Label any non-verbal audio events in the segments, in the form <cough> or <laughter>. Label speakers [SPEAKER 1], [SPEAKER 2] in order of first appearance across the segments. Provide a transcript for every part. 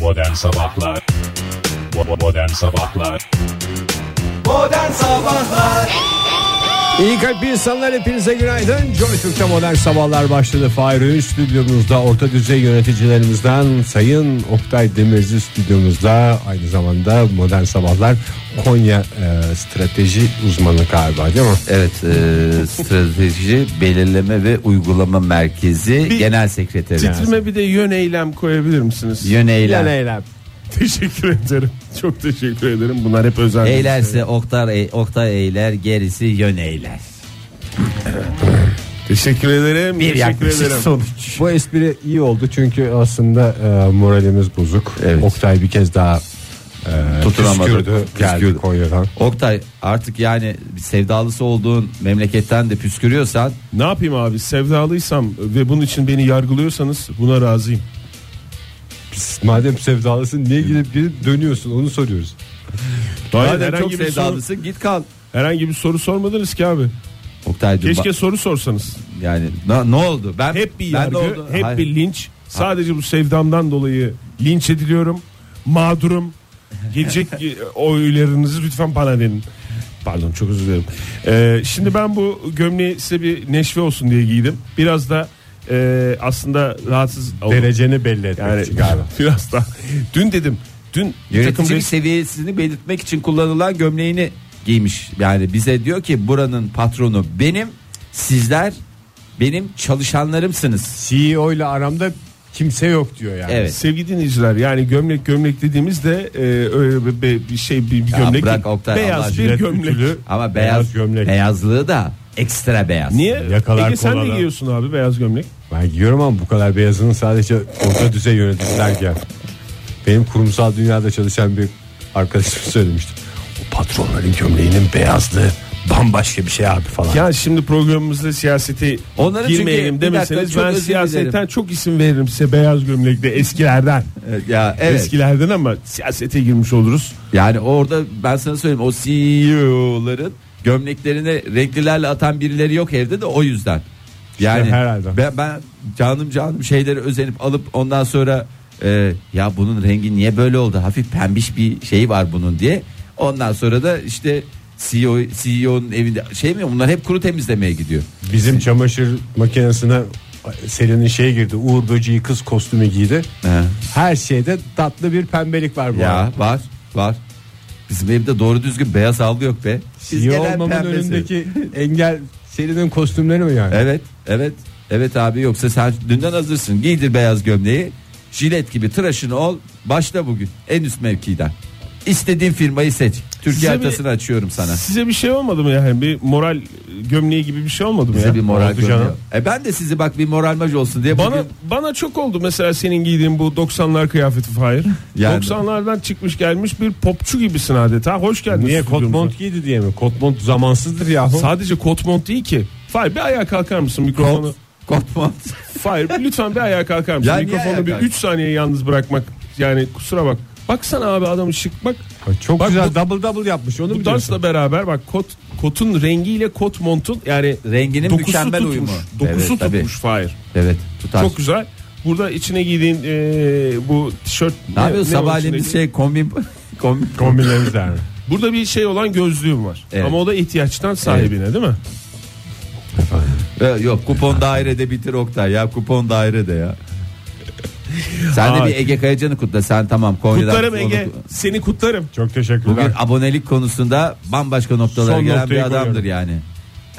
[SPEAKER 1] Modern Sabahlar Bo- Modern Sabahlar
[SPEAKER 2] Modern Sabahlar
[SPEAKER 3] İyi kalp insanlar hepinize günaydın. Joy Türk'te modern sabahlar başladı. Fahir Öğünç stüdyomuzda orta düzey yöneticilerimizden Sayın Oktay Demirci stüdyomuzda aynı zamanda modern sabahlar Konya e, strateji uzmanı galiba değil mi?
[SPEAKER 4] Evet e, strateji belirleme ve uygulama merkezi genel sekreteri.
[SPEAKER 5] Titrime bir de yön eylem koyabilir misiniz?
[SPEAKER 4] Yön eylem.
[SPEAKER 3] Plan eylem.
[SPEAKER 5] Teşekkür ederim. Çok teşekkür ederim. Bunlar hep özel. şey.
[SPEAKER 4] Eylerse Oktay, e, Oktay eyler gerisi yön eyler.
[SPEAKER 5] Teşekkür ederim.
[SPEAKER 4] Bir
[SPEAKER 5] teşekkür
[SPEAKER 4] yaklaşık
[SPEAKER 5] ederim.
[SPEAKER 4] sonuç.
[SPEAKER 3] Bu espri iyi oldu çünkü aslında e, moralimiz bozuk.
[SPEAKER 4] Evet.
[SPEAKER 3] Oktay bir kez daha e,
[SPEAKER 4] Tutunamadı.
[SPEAKER 3] püskürdü, geldi
[SPEAKER 4] Püskürdü.
[SPEAKER 3] Konya'dan.
[SPEAKER 4] Oktay artık yani bir sevdalısı olduğun memleketten de püskürüyorsan
[SPEAKER 5] Ne yapayım abi? Sevdalıysam ve bunun için beni yargılıyorsanız buna razıyım.
[SPEAKER 3] Pis, Madem sevdalısın niye gidip gidip dönüyorsun onu soruyoruz.
[SPEAKER 5] Hayır,
[SPEAKER 4] madem çok
[SPEAKER 5] herhangi, bir soru,
[SPEAKER 4] sevdalısın git kal.
[SPEAKER 5] herhangi bir soru sormadınız ki abi.
[SPEAKER 4] Oktay'cığım
[SPEAKER 5] Keşke
[SPEAKER 4] bak-
[SPEAKER 5] soru sorsanız.
[SPEAKER 4] yani na- ne oldu? Ben
[SPEAKER 5] Hep bir
[SPEAKER 4] ben de
[SPEAKER 5] yargı,
[SPEAKER 4] oldu.
[SPEAKER 5] hep
[SPEAKER 4] Hayır.
[SPEAKER 5] bir linç. Sadece bu sevdamdan dolayı linç ediliyorum. Mağdurum.
[SPEAKER 4] <laughs>
[SPEAKER 5] Gelecek oylarınızı lütfen bana verin. Pardon çok özür dilerim. Ee, şimdi ben bu gömleği size bir neşve olsun diye giydim. Biraz da e, aslında rahatsız oldum.
[SPEAKER 3] Dereceni belli etmek
[SPEAKER 5] yani
[SPEAKER 3] için galiba.
[SPEAKER 5] <laughs> biraz da. Dün dedim. Dün bir takım
[SPEAKER 4] Yöneticilik
[SPEAKER 5] res-
[SPEAKER 4] seviyesini belirtmek için kullanılan gömleğini giymiş. Yani bize diyor ki buranın patronu benim, sizler benim çalışanlarımsınız.
[SPEAKER 3] CEO E ile aramda kimse yok diyor yani.
[SPEAKER 4] Evet.
[SPEAKER 5] Sevgili dinleyiciler yani gömlek gömlek dediğimizde e, öyle bir, bir- bir şey bir, bir
[SPEAKER 4] Ya
[SPEAKER 5] gömlek
[SPEAKER 4] bırak
[SPEAKER 5] değil.
[SPEAKER 4] Oktay, Allah
[SPEAKER 5] beyaz bir
[SPEAKER 4] jilet
[SPEAKER 5] gömlek.
[SPEAKER 3] ütülü.
[SPEAKER 4] Ama beyaz,
[SPEAKER 3] Beyaz gömlek.
[SPEAKER 4] beyazlığı da ekstra beyaz.
[SPEAKER 5] Niye?
[SPEAKER 3] Yakalar
[SPEAKER 5] Ege sen de
[SPEAKER 3] kolalar.
[SPEAKER 5] giyiyorsun abi beyaz gömlek.
[SPEAKER 3] Ben giyiyorum ama bu kadar beyazının sadece orta düzey yöneticiler giyer. Benim kurumsal dünyada çalışan bir arkadaşım <laughs> söylemişti. O patronların gömleğinin beyazlığı bambaşka bir şey abi falan.
[SPEAKER 5] Ya şimdi programımızda siyaseti
[SPEAKER 4] Onların çünkü-
[SPEAKER 5] girmeyelim
[SPEAKER 4] bir dakika,
[SPEAKER 5] demeseniz
[SPEAKER 4] çok
[SPEAKER 5] ben
[SPEAKER 4] özür
[SPEAKER 5] siyasetten
[SPEAKER 4] dilerim.
[SPEAKER 5] çok isim veririm size beyaz gömlekte eskilerden.
[SPEAKER 4] Ya evet.
[SPEAKER 5] Eskilerden ama siyasete girmiş oluruz.
[SPEAKER 4] Yani orada ben sana söyleyeyim o CEO'ların gömleklerini renklilerle atan birileri yok evde de o yüzden. Yani
[SPEAKER 3] herhalde.
[SPEAKER 4] Ben, ben canım canım şeyleri özenip alıp ondan sonra e, ya bunun rengi niye böyle oldu hafif pembiş bir şey var bunun diye. Ondan sonra da işte E CEO, CEO'nun evinde şey mi bunlar hep kuru temizlemeye gidiyor.
[SPEAKER 3] Bizim çamaşır makinesine Selin'in şey girdi. Uğur Böceği kız kostümü giydi.
[SPEAKER 4] He.
[SPEAKER 3] Her şeyde tatlı bir pembelik var bu
[SPEAKER 4] Ya
[SPEAKER 3] arada.
[SPEAKER 4] var var. Bizim evde doğru düzgün beyaz algı yok be. Biz
[SPEAKER 3] CEO
[SPEAKER 4] genel
[SPEAKER 3] E olmamın
[SPEAKER 4] pembe seviyoruz.
[SPEAKER 3] önündeki engel Selin'in kostümleri mi yani?
[SPEAKER 4] Evet evet evet abi yoksa sen dünden hazırsın giydir beyaz gömleği jilet gibi tıraşını ol başla bugün en üst mevkiden istediğin firmayı seç Türkiye
[SPEAKER 5] Size
[SPEAKER 4] haritasını açıyorum sana
[SPEAKER 5] Size bir şey olmadı mı yani bir moral gömleği gibi bir şey olmadı mı
[SPEAKER 4] size
[SPEAKER 5] ya?
[SPEAKER 4] bir moral
[SPEAKER 5] Oldu canım.
[SPEAKER 4] gömleği e ben de sizi bak bir moral maj olsun diye
[SPEAKER 5] Bana
[SPEAKER 4] bugün <laughs>
[SPEAKER 5] bana çok oldu mesela senin giydiğin bu 90'lar kıyafeti Fahir.
[SPEAKER 4] Yani.
[SPEAKER 5] 90'lardan çıkmış gelmiş bir popçu gibisin adeta. Hoş geldin.
[SPEAKER 3] Niye kot
[SPEAKER 5] stüdyomuza.
[SPEAKER 3] mont giydi diye mi? Kot mont zamansızdır yahu.
[SPEAKER 5] Sadece kot mont değil ki. Fahir bir ayağa kalkar mısın mikrofonu?
[SPEAKER 4] Korkmam.
[SPEAKER 5] Fahir lütfen bir ayağa kalkar mısın?
[SPEAKER 4] Ya niye ayağa
[SPEAKER 5] Mikrofonu bir
[SPEAKER 4] kalk-
[SPEAKER 5] 3 saniye yalnız bırakmak. Yani kusura bak. Baksana abi adamı şık bak.
[SPEAKER 3] Ay Çok
[SPEAKER 5] Bak
[SPEAKER 3] güzel
[SPEAKER 5] bu-
[SPEAKER 3] double double yapmış onu
[SPEAKER 5] Bu
[SPEAKER 3] biliyorsun.
[SPEAKER 5] dansla beraber bak kot kotun rengiyle kot montun yani
[SPEAKER 4] renginin
[SPEAKER 5] dokusu
[SPEAKER 4] mükemmel
[SPEAKER 5] tutmuş.
[SPEAKER 4] uyumu
[SPEAKER 5] Dokusu
[SPEAKER 4] evet, tabii.
[SPEAKER 5] tutmuş Fahir.
[SPEAKER 4] evet tutar
[SPEAKER 5] Çok güzel. Burada içine giydiğin e, bu tişört
[SPEAKER 4] ne yapıyorsun
[SPEAKER 5] ne o
[SPEAKER 4] sabahleyin bir
[SPEAKER 5] içindeki?
[SPEAKER 4] şey kombin kombin
[SPEAKER 3] Kombinlerimiz yani.
[SPEAKER 5] Burada bir şey olan gözlüğüm var.
[SPEAKER 4] Evet.
[SPEAKER 5] Ama o da ihtiyaçtan sahibine değil mi?
[SPEAKER 4] E, <laughs> yok kupon dairede bitir Oktay ya kupon dairede ya sen de
[SPEAKER 5] Ay.
[SPEAKER 4] bir Ege Kayacan'ı kutla sen tamam Konya'dan
[SPEAKER 5] Kutlarım
[SPEAKER 4] onu
[SPEAKER 5] Ege.
[SPEAKER 4] kutla.
[SPEAKER 5] Seni kutlarım.
[SPEAKER 3] Çok
[SPEAKER 4] Bugün <laughs>
[SPEAKER 3] teşekkürler.
[SPEAKER 4] abonelik konusunda bambaşka noktalara
[SPEAKER 3] Son
[SPEAKER 4] gelen
[SPEAKER 3] noktayı
[SPEAKER 4] bir adamdır
[SPEAKER 3] koyuyorum.
[SPEAKER 4] yani.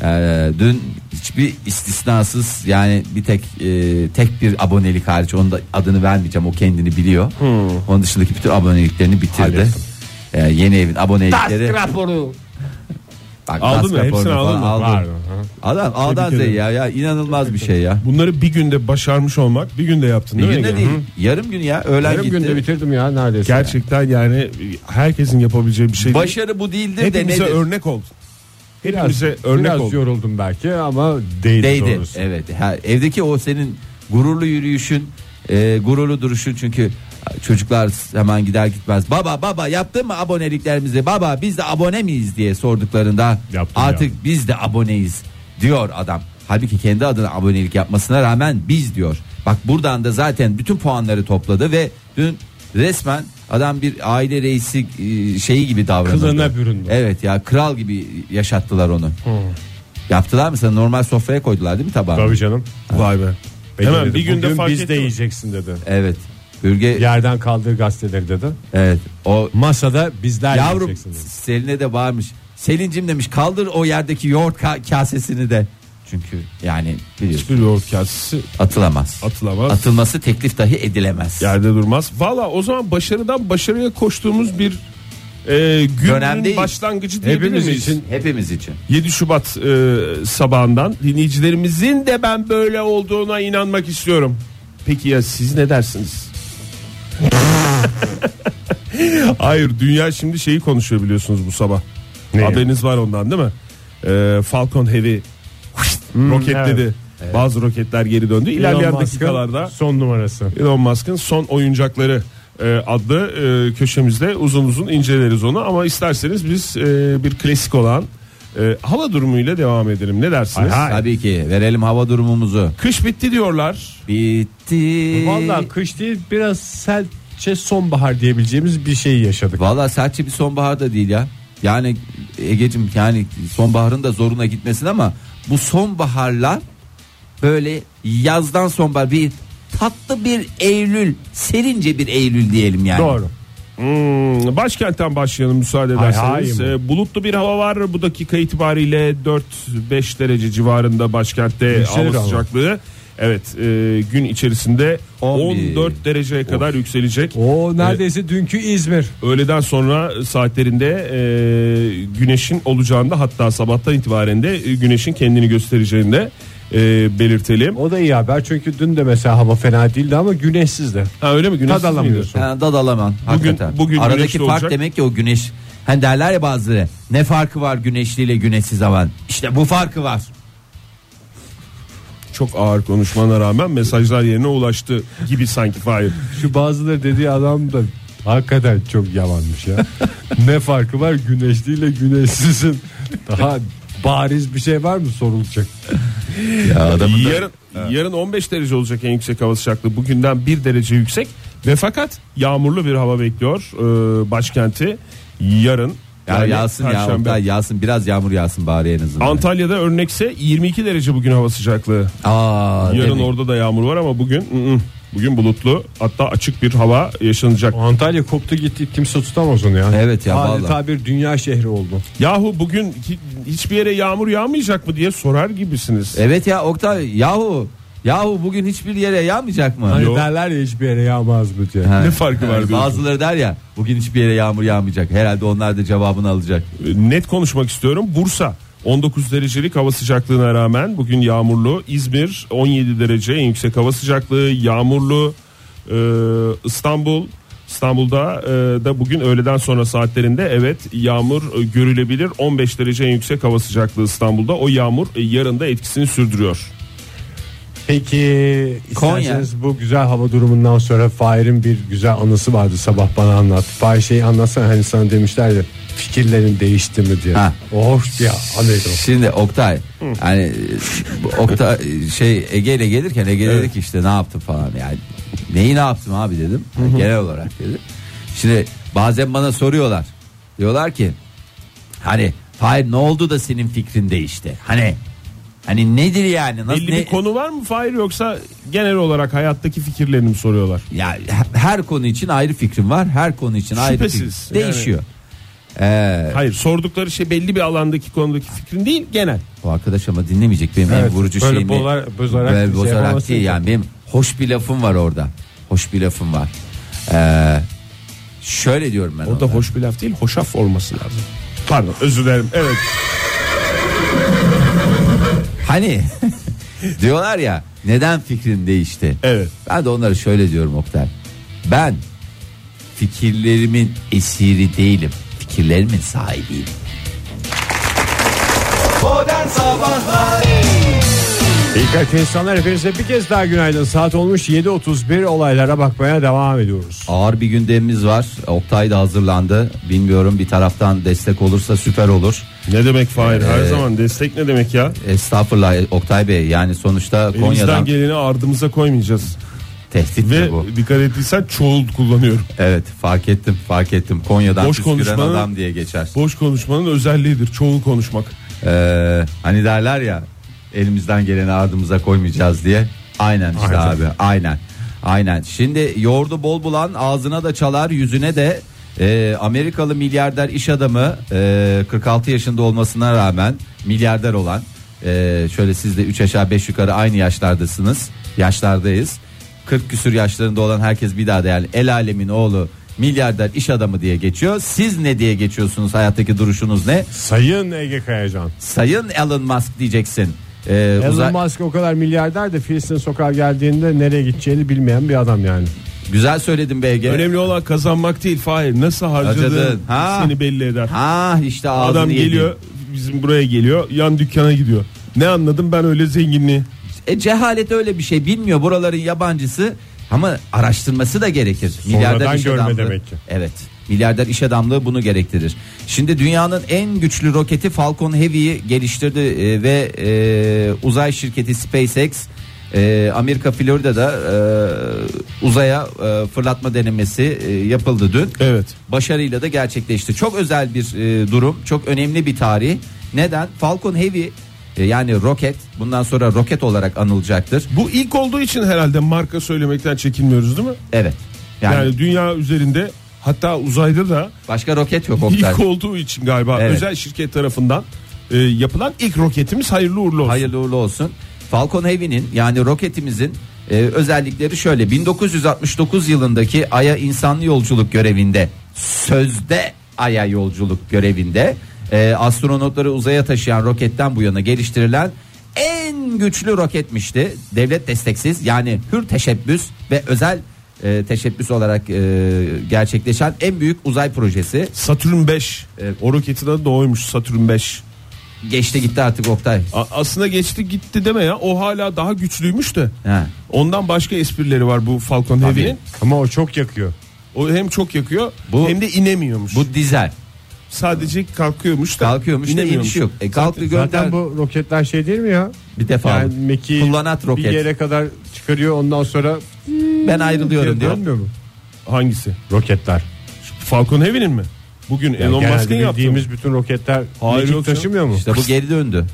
[SPEAKER 4] Ee, dün hiçbir istisnasız yani bir tek e, tek bir abonelik hariç onun da adını vermeyeceğim o kendini biliyor.
[SPEAKER 5] Hmm.
[SPEAKER 4] Onun dışındaki bütün aboneliklerini bitirdi. Ee, yeni evin abonelikleri.
[SPEAKER 2] raporu
[SPEAKER 4] Bak,
[SPEAKER 5] Aldın mı?
[SPEAKER 4] raporunu
[SPEAKER 5] Hepsini
[SPEAKER 4] falan
[SPEAKER 5] aldın mı?
[SPEAKER 3] Var.
[SPEAKER 4] Adam A'dan
[SPEAKER 5] Tebrik
[SPEAKER 4] Z'ye
[SPEAKER 5] ederim.
[SPEAKER 4] ya, ya inanılmaz bir şey ya.
[SPEAKER 5] Bunları bir günde başarmış olmak bir günde yaptın
[SPEAKER 4] Bir
[SPEAKER 5] değil mi?
[SPEAKER 4] günde
[SPEAKER 5] Ege?
[SPEAKER 4] değil. Yarım gün ya. Öğlen
[SPEAKER 3] Yarım
[SPEAKER 4] gitti.
[SPEAKER 3] günde bitirdim ya neredeyse.
[SPEAKER 5] Gerçekten yani herkesin yapabileceği bir şey değil.
[SPEAKER 4] Başarı bu değildir de
[SPEAKER 5] Hepimize
[SPEAKER 4] nedir?
[SPEAKER 5] örnek oldun.
[SPEAKER 3] Biraz-
[SPEAKER 5] Hepimize örnek
[SPEAKER 3] biraz
[SPEAKER 5] oldun.
[SPEAKER 3] yoruldum belki ama değdi,
[SPEAKER 4] Değdi.
[SPEAKER 3] doğrusu.
[SPEAKER 4] Evet. Ha, evdeki o senin gururlu yürüyüşün, e, gururlu duruşun çünkü çocuklar hemen gider gitmez. Baba baba yaptın mı aboneliklerimizi? Baba biz de abone miyiz diye sorduklarında
[SPEAKER 3] Yaptım
[SPEAKER 4] artık biz de aboneyiz diyor adam. Halbuki kendi adına abonelik yapmasına rağmen biz diyor. Bak buradan da zaten bütün puanları topladı ve dün Resmen adam bir aile reisi e, şeyi gibi davranıyor.
[SPEAKER 5] Kılığına büründü.
[SPEAKER 4] Evet ya kral gibi yaşattılar onu. Yaptılar mı sana normal sofraya koydular değil mi tabağı?
[SPEAKER 3] Tabii canım. Vay be.
[SPEAKER 5] Hemen
[SPEAKER 3] dedi,
[SPEAKER 5] bir günde
[SPEAKER 3] "Bugün
[SPEAKER 5] fark
[SPEAKER 3] biz de
[SPEAKER 5] ettim."
[SPEAKER 3] yiyeceksin dedi.
[SPEAKER 4] Evet. Bürge
[SPEAKER 3] Yerden kaldığı gazeteleri dedi.
[SPEAKER 4] evet o
[SPEAKER 3] Masada bizler
[SPEAKER 4] Yavrum
[SPEAKER 3] yiyeceksin dedi.
[SPEAKER 4] Selin'e de bağırmış. Selincim demiş kaldır o yerdeki yoğurt ka- kasesini de. Çünkü yani biliyorsun
[SPEAKER 5] Hiçbir yoğurt kasesi
[SPEAKER 4] atılamaz.
[SPEAKER 5] atılamaz.
[SPEAKER 4] Atılması teklif dahi edilemez.
[SPEAKER 5] Yerde durmaz. Valla o zaman başarıdan başarıya koştuğumuz bir e,
[SPEAKER 4] Dönem
[SPEAKER 5] günün
[SPEAKER 4] değil.
[SPEAKER 5] başlangıcı diyebilir
[SPEAKER 4] Hepimiz
[SPEAKER 5] miyiz?
[SPEAKER 4] için. Hepimiz için.
[SPEAKER 5] 7 Şubat e, sabahından dinleyicilerimizin de ben böyle olduğuna inanmak istiyorum. Peki ya siz ne dersiniz? <laughs> Hayır dünya şimdi şeyi konuşuyor biliyorsunuz bu sabah.
[SPEAKER 3] Neyi?
[SPEAKER 5] Haberiniz var ondan değil mi? E, Falcon Heavy roketledi.
[SPEAKER 3] Hmm, evet.
[SPEAKER 5] Bazı roketler geri döndü.
[SPEAKER 3] Elon
[SPEAKER 5] İlerleyen
[SPEAKER 3] Musk'ın
[SPEAKER 5] dakikalarda
[SPEAKER 3] son numarası.
[SPEAKER 5] Elon Musk'ın son oyuncakları e, adlı e, köşemizde uzun uzun inceleriz onu ama isterseniz biz e, bir klasik olan e, hava durumuyla devam edelim. Ne dersiniz?
[SPEAKER 4] Tabii ki verelim hava durumumuzu.
[SPEAKER 5] Kış bitti diyorlar.
[SPEAKER 4] Bitti.
[SPEAKER 3] Vallahi kış değil biraz selçe sonbahar diyebileceğimiz bir şey yaşadık.
[SPEAKER 4] Vallahi sertçe bir sonbahar da değil ya. Yani Ege'cim yani sonbaharın da zoruna gitmesin ama bu sonbaharlar böyle yazdan sonbahar bir tatlı bir Eylül serince bir Eylül diyelim yani.
[SPEAKER 3] Doğru.
[SPEAKER 5] Hmm, başkentten başlayalım müsaade
[SPEAKER 3] Hay
[SPEAKER 5] ederseniz.
[SPEAKER 3] hay mı?
[SPEAKER 5] E, bulutlu bir hava var bu dakika itibariyle 4-5 derece civarında başkentte
[SPEAKER 3] Yükselir
[SPEAKER 5] hava
[SPEAKER 3] ama.
[SPEAKER 5] sıcaklığı. Evet e, gün içerisinde
[SPEAKER 4] 11.
[SPEAKER 5] 14 dereceye kadar yükselecek.
[SPEAKER 3] O neredeyse dünkü İzmir.
[SPEAKER 5] Öğleden sonra saatlerinde e, güneşin olacağında hatta sabahtan itibaren de e, güneşin kendini göstereceğini de e, belirtelim.
[SPEAKER 3] O da iyi haber çünkü dün de mesela hava fena değildi ama güneşsizdi.
[SPEAKER 5] Ha öyle mi? Güneşsiz
[SPEAKER 3] Tad alamıyorsun.
[SPEAKER 4] Yani dadalaman hakikaten.
[SPEAKER 5] bugün
[SPEAKER 4] Aradaki
[SPEAKER 5] güneşli
[SPEAKER 4] fark
[SPEAKER 5] olacak.
[SPEAKER 4] demek ki o güneş. Hani derler ya bazıları ne farkı var güneşli ile güneşsiz havan. İşte bu farkı var.
[SPEAKER 5] miydi? Çok ağır konuşmana rağmen mesajlar yerine ulaştı gibi
[SPEAKER 4] <laughs>
[SPEAKER 5] sanki Fahir.
[SPEAKER 3] Şu bazıları dediği adam da hakikaten çok yalanmış <laughs> ya. ne farkı var güneşliyle güneşsizin? Daha bariz bir şey var mı sorulacak?
[SPEAKER 5] yarın, yarın 15 derece olacak en yüksek hava sıcaklığı. Bugünden 1 derece yüksek ve fakat yağmurlu bir hava bekliyor e, başkenti yarın.
[SPEAKER 4] Ya
[SPEAKER 5] yani
[SPEAKER 4] yağsın ya
[SPEAKER 5] Perşembe.
[SPEAKER 4] Oktay, yağsın biraz yağmur yağsın bari en azından.
[SPEAKER 5] Antalya'da örnekse 22 derece bugün hava sıcaklığı.
[SPEAKER 4] Aa,
[SPEAKER 5] Yarın
[SPEAKER 4] demek.
[SPEAKER 5] orada da yağmur var ama bugün ı-ı, bugün bulutlu hatta açık bir hava yaşanacak.
[SPEAKER 3] Antalya koptu gitti kimse tutamaz onu ya.
[SPEAKER 4] Evet ya,
[SPEAKER 3] Adeta
[SPEAKER 4] vallahi.
[SPEAKER 3] bir dünya şehri oldu.
[SPEAKER 5] Yahu bugün hi- hiçbir yere yağmur yağmayacak mı diye sorar gibisiniz.
[SPEAKER 4] Evet ya Oktay yahu yahu bugün hiçbir yere yağmayacak mı?
[SPEAKER 3] Hani
[SPEAKER 5] Yok.
[SPEAKER 3] derler ya hiçbir yere yağmaz bu diye.
[SPEAKER 4] Ha.
[SPEAKER 5] Ne farkı var
[SPEAKER 4] Yani
[SPEAKER 5] diyorsun?
[SPEAKER 4] Bazıları der ya bugün hiçbir yere yağmur yağmayacak. Herhalde onlar da cevabını alacak.
[SPEAKER 5] Net konuşmak istiyorum. Bursa 19 derecelik hava sıcaklığına rağmen bugün yağmurlu. İzmir 17 derece en yüksek hava sıcaklığı yağmurlu. Ee, İstanbul İstanbul'da e, da bugün öğleden sonra saatlerinde evet yağmur e, görülebilir. 15 derece en yüksek hava sıcaklığı İstanbul'da. O yağmur e, yarın da etkisini sürdürüyor.
[SPEAKER 3] Peki
[SPEAKER 4] Konya.
[SPEAKER 3] isterseniz bu güzel hava durumundan sonra Fahir'in bir güzel anısı vardı sabah bana anlat. Fahir şeyi anlatsana hani sana demişlerdi fikirlerin değişti mi diye.
[SPEAKER 4] Ha.
[SPEAKER 3] O hoş ya anıydı o.
[SPEAKER 4] Şimdi Oktay hani bu Oktay şey Ege ile gelirken Ege dedi ki işte ne yaptın falan yani neyi ne yaptım abi dedim Hani genel olarak dedi. Şimdi bazen bana soruyorlar diyorlar ki hani Fahir ne oldu da senin fikrin değişti hani hani nedir yani nasıl
[SPEAKER 5] Belli
[SPEAKER 4] ne-
[SPEAKER 5] bir konu var mı Fahir yoksa genel olarak hayattaki fikirlerini mi soruyorlar?
[SPEAKER 4] Ya he- her konu için ayrı fikrim var. Her konu için ayrı fikrim.
[SPEAKER 5] Şüphesiz, yani.
[SPEAKER 4] Değişiyor. Ee,
[SPEAKER 5] Hayır sordukları şey belli bir alandaki konudaki fikrin değil genel.
[SPEAKER 4] o arkadaş ama dinlemeyecek benim
[SPEAKER 3] Evet,
[SPEAKER 4] en vurucu
[SPEAKER 3] böyle
[SPEAKER 4] şeyimi.
[SPEAKER 3] bolar- bozarak
[SPEAKER 4] Böyle
[SPEAKER 3] bir şey
[SPEAKER 4] bozarak
[SPEAKER 3] yapamazsın
[SPEAKER 4] değil
[SPEAKER 3] ki.
[SPEAKER 4] yani benim hoş bir lafım var orada. Hoş bir lafım var. Ee, şöyle diyorum ben.
[SPEAKER 5] Orada
[SPEAKER 4] ona.
[SPEAKER 5] hoş bir laf değil hoşaf olması lazım. Pardon özür dilerim. Evet
[SPEAKER 4] Hani <laughs> diyorlar ya neden fikrin değişti?
[SPEAKER 5] Evet.
[SPEAKER 4] Ben de onlara şöyle diyorum Oktay. Ben fikirlerimin esiri değilim. Fikirlerimin sahibiyim.
[SPEAKER 2] Modern Sabahlar
[SPEAKER 3] İyi kalp insanlar hepinize bir kez daha günaydın. Saat olmuş 7.31 olaylara bakmaya devam ediyoruz.
[SPEAKER 4] Ağır bir gündemimiz var. Oktay da hazırlandı. Bilmiyorum bir taraftan destek olursa süper olur.
[SPEAKER 5] ne demek Fahir
[SPEAKER 4] Ee,
[SPEAKER 5] her zaman destek ne demek ya?
[SPEAKER 4] Estağfurullah Oktay Bey yani sonuçta
[SPEAKER 5] Elimizden
[SPEAKER 4] Konya'dan
[SPEAKER 5] geleni ardımıza koymayacağız.
[SPEAKER 4] Tehdit mi
[SPEAKER 5] Ve
[SPEAKER 4] bu?
[SPEAKER 5] dikkat ettiysen çoğul kullanıyorum.
[SPEAKER 4] Evet fark ettim fark ettim. Konya'dan
[SPEAKER 5] Boş
[SPEAKER 4] püsküren
[SPEAKER 5] konuşmanın-
[SPEAKER 4] adam diye geçer.
[SPEAKER 5] Boş konuşmanın özelliğidir çoğul konuşmak.
[SPEAKER 4] Ee, hani derler ya elimizden geleni ardımıza koymayacağız diye. Aynen işte abi aynen. Aynen. Şimdi yoğurdu bol bulan ağzına da çalar yüzüne de e, Amerikalı milyarder iş adamı e, 46 yaşında olmasına rağmen milyarder olan e, şöyle siz de 3 aşağı 5 yukarı aynı yaşlardasınız yaşlardayız 40 küsür yaşlarında olan herkes bir daha da yani el alemin oğlu milyarder iş adamı diye geçiyor siz ne diye geçiyorsunuz hayattaki duruşunuz ne
[SPEAKER 3] Sayın Ege Kayacan.
[SPEAKER 4] Sayın Elon Musk diyeceksin. Ee, uzay-
[SPEAKER 3] Elon Musk o kadar milyarder de Filistin sokağa geldiğinde nereye gideceğini bilmeyen bir adam yani.
[SPEAKER 4] Güzel söyledin BG.
[SPEAKER 5] Önemli olan kazanmak değil Fahir nasıl harcadığın
[SPEAKER 4] Harcadığın, ha.
[SPEAKER 5] seni belli eder.
[SPEAKER 4] Ha işte ağzını
[SPEAKER 5] Adam
[SPEAKER 4] yedin.
[SPEAKER 5] geliyor bizim buraya geliyor yan dükkana gidiyor. Ne anladım ben öyle zenginliği.
[SPEAKER 4] E, cehalet öyle bir şey bilmiyor buraların yabancısı ama araştırması da gerekir. Milyarder iş
[SPEAKER 3] görme
[SPEAKER 4] adamlığı.
[SPEAKER 3] demek ki.
[SPEAKER 4] Evet. Milyarder iş adamlığı bunu gerektirir. Şimdi dünyanın en güçlü roketi Falcon Heavy'yi geliştirdi e, ve e, uzay şirketi SpaceX e, Amerika Florida'da e, uzaya e, fırlatma denemesi e, yapıldı dün.
[SPEAKER 5] Evet.
[SPEAKER 4] başarıyla da gerçekleşti. Çok özel bir e, durum, çok önemli bir tarih. Neden? Falcon Heavy e, yani roket bundan sonra roket olarak anılacaktır.
[SPEAKER 5] Bu ilk olduğu için herhalde marka söylemekten çekinmiyoruz değil mi?
[SPEAKER 4] Evet. Yani,
[SPEAKER 5] Yani, dünya üzerinde hatta uzayda da
[SPEAKER 4] başka roket yok Oktay.
[SPEAKER 5] <laughs> ilk olduğu için galiba
[SPEAKER 4] Evet.
[SPEAKER 5] özel şirket tarafından e, yapılan ilk roketimiz hayırlı uğurlu olsun.
[SPEAKER 4] Hayırlı uğurlu olsun. Falcon Heavy'nin yani roketimizin e, özellikleri şöyle 1969 yılındaki Ay'a insanlı yolculuk görevinde sözde Ay'a yolculuk görevinde e, astronotları uzaya taşıyan roketten bu yana geliştirilen en güçlü roketmişti. Devlet desteksiz yani hür teşebbüs ve özel e, teşebbüs olarak e, gerçekleşen en büyük uzay projesi.
[SPEAKER 5] Satürn 5.
[SPEAKER 4] Evet.
[SPEAKER 5] O roketin adı da oymuş Satürn 5.
[SPEAKER 4] Geçti gitti artık Oktay.
[SPEAKER 5] A- aslında geçti gitti deme ya. O hala daha güçlüymüş de.
[SPEAKER 4] Ha.
[SPEAKER 5] Ondan başka esprileri var bu Falcon Heavy'nin.
[SPEAKER 3] Ama o çok yakıyor.
[SPEAKER 5] O hem çok yakıyor
[SPEAKER 4] Bu-
[SPEAKER 5] hem de inemiyormuş.
[SPEAKER 4] Bu dizel.
[SPEAKER 5] Sadece kalkıyormuş da.
[SPEAKER 4] Kalkıyormuş da inişi yok. E, kalktı gönder.
[SPEAKER 3] Zaten bu roketler şey değil mi ya?
[SPEAKER 4] Bir defa
[SPEAKER 3] Yani
[SPEAKER 4] bu.
[SPEAKER 3] Meki
[SPEAKER 4] kullanat
[SPEAKER 3] bir
[SPEAKER 4] roket.
[SPEAKER 3] yere kadar çıkarıyor ondan sonra
[SPEAKER 4] Ben ayrılıyorum diyor.
[SPEAKER 3] dönmüyor mu?
[SPEAKER 5] Hangisi?
[SPEAKER 3] Roketler.
[SPEAKER 5] Falcon Heavy'nin mi? Bugün Elon
[SPEAKER 3] Genelde
[SPEAKER 5] Musk'ın yaptığı mı?
[SPEAKER 3] bildiğimiz bütün roketler
[SPEAKER 5] Hayır,
[SPEAKER 3] mekik
[SPEAKER 5] yok canım.
[SPEAKER 3] taşımıyor mu?
[SPEAKER 4] İşte bu geri döndü.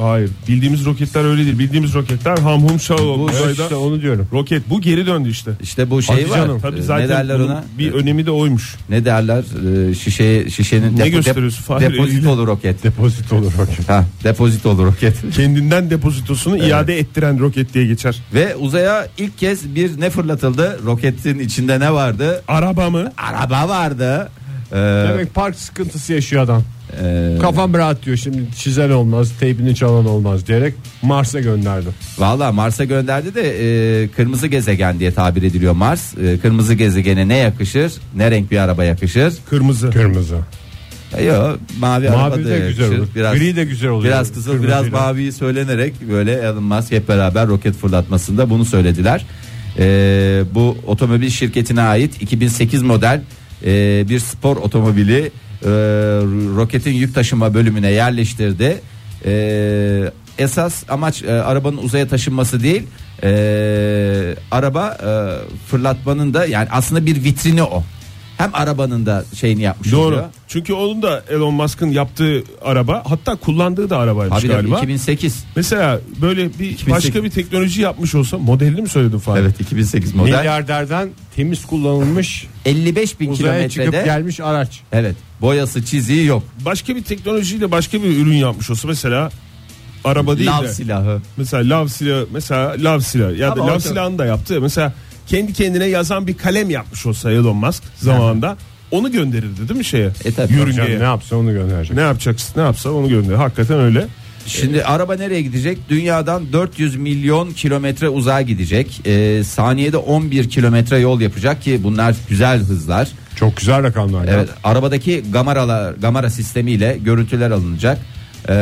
[SPEAKER 5] Hayır. Bildiğimiz roketler öyle değil. Bildiğimiz roketler ham hum şav
[SPEAKER 3] Bu işte onu diyorum.
[SPEAKER 5] roket. Bu geri döndü işte.
[SPEAKER 4] İşte bu şey
[SPEAKER 5] Hadi
[SPEAKER 4] var.
[SPEAKER 5] canım. Tabii
[SPEAKER 4] Ee,
[SPEAKER 5] zaten
[SPEAKER 4] ne derler
[SPEAKER 5] bunun
[SPEAKER 4] ona?
[SPEAKER 5] Bir
[SPEAKER 4] Ee,
[SPEAKER 5] önemi de oymuş.
[SPEAKER 4] ne derler? Ee, şişe şişenin
[SPEAKER 5] Ne
[SPEAKER 4] depo-
[SPEAKER 5] gösteriyorsun? Fahir eliyle.
[SPEAKER 4] depozitolu roket.
[SPEAKER 3] Depozit olur roket.
[SPEAKER 4] Ha, depozitolu roket. <laughs>
[SPEAKER 5] Kendinden depozitosunu iade ettiren roket diye geçer.
[SPEAKER 4] Ve uzaya ilk kez bir ne fırlatıldı? Roketin içinde ne vardı?
[SPEAKER 5] Araba mı?
[SPEAKER 4] Araba vardı. Ee,
[SPEAKER 3] Demek park sıkıntısı yaşıyor adam.
[SPEAKER 4] e,
[SPEAKER 3] Kafam rahat diyor şimdi çizen olmaz, teybini çalan olmaz diyerek Mars'a gönderdi.
[SPEAKER 4] Valla Mars'a gönderdi de e, kırmızı gezegen diye tabir ediliyor Mars. E, kırmızı gezegene ne yakışır? Ne renk bir araba yakışır?
[SPEAKER 5] Kırmızı.
[SPEAKER 3] Kırmızı.
[SPEAKER 4] E, Yo, mavi, araba
[SPEAKER 3] Mavi
[SPEAKER 4] da
[SPEAKER 3] de
[SPEAKER 4] yakışır.
[SPEAKER 3] güzel olur.
[SPEAKER 4] Biraz
[SPEAKER 3] Gri de güzel olur.
[SPEAKER 4] Biraz kızıl biraz
[SPEAKER 3] Kırmızıyla.
[SPEAKER 4] mavi söylenerek böyle Elon Musk hep beraber roket fırlatmasında bunu söylediler. Ee, bu otomobil şirketine ait 2008 model e, bir spor otomobili e, roketin yük taşıma bölümüne yerleştirdi. E, esas amaç e, arabanın uzaya taşınması değil e, araba e, fırlatmanın da yani aslında bir vitrini o. Hem arabanın da şeyini yapmış
[SPEAKER 5] Doğru.
[SPEAKER 4] oluyor.
[SPEAKER 5] Çünkü onun da Elon Musk'ın yaptığı araba hatta kullandığı da arabaymış
[SPEAKER 4] Abi
[SPEAKER 5] galiba.
[SPEAKER 4] 2008.
[SPEAKER 5] Mesela böyle bir
[SPEAKER 4] 2008.
[SPEAKER 5] başka bir teknoloji yapmış olsa modelini mi söyledin Fahri?
[SPEAKER 4] Evet 2008 model.
[SPEAKER 3] Milyarderden temiz kullanılmış
[SPEAKER 4] 55 bin
[SPEAKER 3] uzaya çıkıp
[SPEAKER 4] kilometrede
[SPEAKER 3] gelmiş araç.
[SPEAKER 4] evet boyası çiziği yok.
[SPEAKER 5] Başka bir teknolojiyle başka bir ürün yapmış olsa mesela araba değil
[SPEAKER 4] Lav
[SPEAKER 5] de
[SPEAKER 4] silahı.
[SPEAKER 5] mesela lav silahı mesela lav silahı ya da
[SPEAKER 4] Ama
[SPEAKER 5] lav
[SPEAKER 4] o-
[SPEAKER 5] silahını da yaptı. Mesela kendi kendine yazan bir kalem yapmış olsa Elon Musk zamanında onu gönderirdi değil mi şeye?
[SPEAKER 4] E tabii.
[SPEAKER 3] Hocam
[SPEAKER 5] Yörüngeye.
[SPEAKER 3] ne yapsa onu gönderecek.
[SPEAKER 5] Ne yapacaksın? Ne yapsa onu gönder. Hakikaten öyle.
[SPEAKER 4] Şimdi araba nereye gidecek? Dünyadan 400 milyon kilometre uzağa gidecek. Ee, saniyede 11 kilometre yol yapacak ki bunlar güzel hızlar.
[SPEAKER 3] Çok güzel rakamlar. ya.
[SPEAKER 4] Evet, arabadaki gamaralar, gamara sistemiyle görüntüler alınacak. Ee,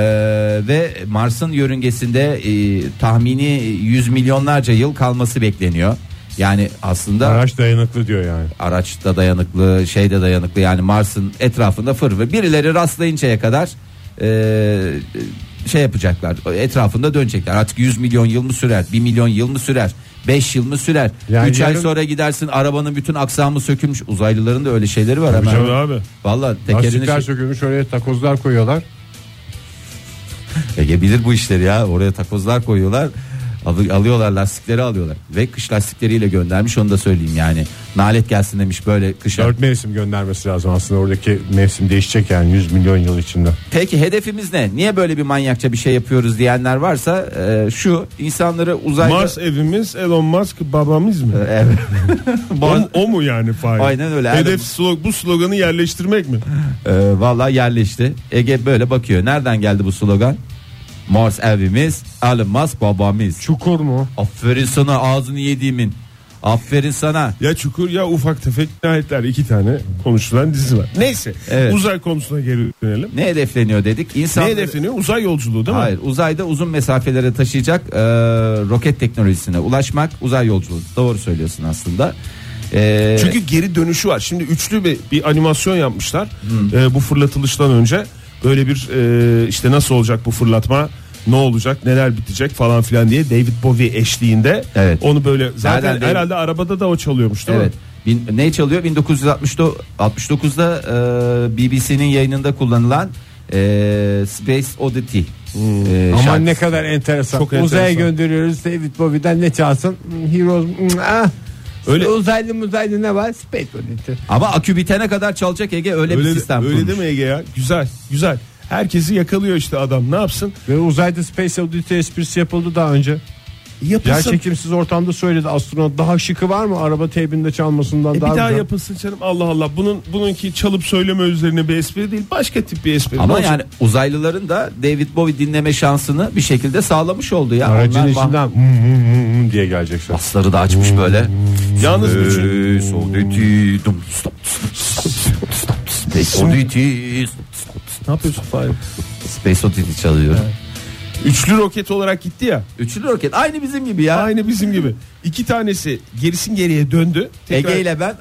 [SPEAKER 4] ve Mars'ın yörüngesinde e, tahmini yüz milyonlarca yıl kalması bekleniyor. Yani aslında
[SPEAKER 3] Araç dayanıklı diyor yani.
[SPEAKER 4] araçta dayanıklı şeyde dayanıklı yani Mars'ın etrafında fır ve birileri rastlayıncaya kadar e, şey yapacaklar etrafında dönecekler artık 100 milyon yıl mı sürer 1 milyon yıl mı sürer 5 yıl mı sürer? 3
[SPEAKER 3] Yani
[SPEAKER 4] ay
[SPEAKER 3] yarın-
[SPEAKER 4] sonra gidersin arabanın bütün aksamı sökülmüş. Uzaylıların da öyle şeyleri var
[SPEAKER 5] Hocam
[SPEAKER 4] hemen.
[SPEAKER 5] abi.
[SPEAKER 4] Valla tekerini şey-
[SPEAKER 3] Lastikler sökülmüş oraya takozlar koyuyorlar.
[SPEAKER 4] Ege bilir bu işleri ya. Oraya takozlar koyuyorlar. Al- alıyorlar lastikleri alıyorlar. Ve kış lastikleriyle göndermiş onu da söyleyeyim yani. Nalet gelsin demiş böyle kışa.
[SPEAKER 3] Dört mevsim göndermesi lazım aslında oradaki mevsim değişecek yani 100 milyon yıl içinde.
[SPEAKER 4] Peki hedefimiz ne? Niye böyle bir manyakça bir şey yapıyoruz diyenler varsa e, şu insanları uzayda...
[SPEAKER 5] Mars evimiz Elon Musk babamız mı?
[SPEAKER 4] <laughs> Evet.
[SPEAKER 5] O, o mu yani Fahir?
[SPEAKER 4] Aynen öyle. Adam-
[SPEAKER 5] Hedef slog, bu sloganı yerleştirmek mi?
[SPEAKER 4] E, Valla yerleşti. Ege böyle bakıyor. Nereden geldi bu slogan? Mars evimiz, Elon Musk babamız.
[SPEAKER 5] Çukur mu?
[SPEAKER 4] Aferin sana ağzını yediğimin. Aferin sana.
[SPEAKER 5] Ya Çukur ya Ufak Tefek Nihayetler iki tane konuşulan dizi var. Neyse
[SPEAKER 4] Evet.
[SPEAKER 5] uzay konusuna geri dönelim.
[SPEAKER 4] Ne hedefleniyor dedik?
[SPEAKER 5] Ne
[SPEAKER 4] İnsanları...
[SPEAKER 5] hedefleniyor? Uzay yolculuğu değil mi?
[SPEAKER 4] Hayır uzayda uzun mesafelere taşıyacak e, roket teknolojisine ulaşmak uzay yolculuğu. Doğru söylüyorsun aslında. E,
[SPEAKER 5] Çünkü geri dönüşü var. Şimdi üçlü bir, bir animasyon yapmışlar.
[SPEAKER 4] Hmm.
[SPEAKER 5] Ee, bu fırlatılıştan önce böyle bir e, işte nasıl olacak bu fırlatma? Ne olacak? Neler bitecek falan filan diye David Bowie eşliğinde
[SPEAKER 4] Evet.
[SPEAKER 5] onu böyle zaten
[SPEAKER 4] Nereden David-
[SPEAKER 5] herhalde arabada da o çalıyormuş değil
[SPEAKER 4] evet.
[SPEAKER 5] mi?
[SPEAKER 4] Bin- ne çalıyor? 1969'da e, BBC'nin yayınında kullanılan e, Space Oddity.
[SPEAKER 5] Hmm.
[SPEAKER 4] e,
[SPEAKER 3] Ama
[SPEAKER 4] şarkısı.
[SPEAKER 3] ne kadar enteresan.
[SPEAKER 5] Çok
[SPEAKER 3] Uzaya
[SPEAKER 5] enteresan.
[SPEAKER 3] gönderiyoruz. David Bowie'den ne çalsın? Hmm, Heroes. hmm, Ah.
[SPEAKER 5] Öyle-
[SPEAKER 3] Öyle. Uzaylı muzaylı ne var? Space Oddity.
[SPEAKER 4] Ama akü bitene kadar çalacak Ege öyle,
[SPEAKER 5] Öyle,
[SPEAKER 4] bir
[SPEAKER 5] de-
[SPEAKER 4] sistem
[SPEAKER 5] öyle
[SPEAKER 4] kurmuş.
[SPEAKER 5] değil mi Ege ya? Güzel, güzel. Herkesi yakalıyor işte adam. Ne yapsın?
[SPEAKER 3] Ve uzayda Space Oddity esprisi yapıldı daha önce.
[SPEAKER 5] Yapılsın.
[SPEAKER 3] Yerçekimsiz ortamda söyledi astronot. Daha şıkı var mı araba teybinde çalmasından
[SPEAKER 5] E bir
[SPEAKER 3] daha,
[SPEAKER 5] daha
[SPEAKER 3] güzel.
[SPEAKER 5] yapılsın canım. Allah Allah. Bunun bununki çalıp söyleme üzerine bir espri değil. Başka tip bir espri. Ne
[SPEAKER 4] Ama
[SPEAKER 5] olacak?
[SPEAKER 4] yani uzaylıların da David Bowie dinleme şansını bir şekilde sağlamış oldu ya.
[SPEAKER 3] Aracın
[SPEAKER 4] Onlar bah-
[SPEAKER 3] içinden hmm, hmm, hmm, hmm diye geleceksin.
[SPEAKER 4] Basları da
[SPEAKER 5] Hmm.
[SPEAKER 4] açmış böyle. Ee,
[SPEAKER 5] Yalnız bütün- Ne yapıyorsun Fahir?
[SPEAKER 4] Space Oddity çalıyor.
[SPEAKER 5] Üçlü roket olarak gitti ya.
[SPEAKER 4] Üçlü roket aynı bizim gibi ya.
[SPEAKER 5] Aynı bizim gibi. İki tanesi gerisin geriye döndü. Tekrar
[SPEAKER 4] Ege ile ben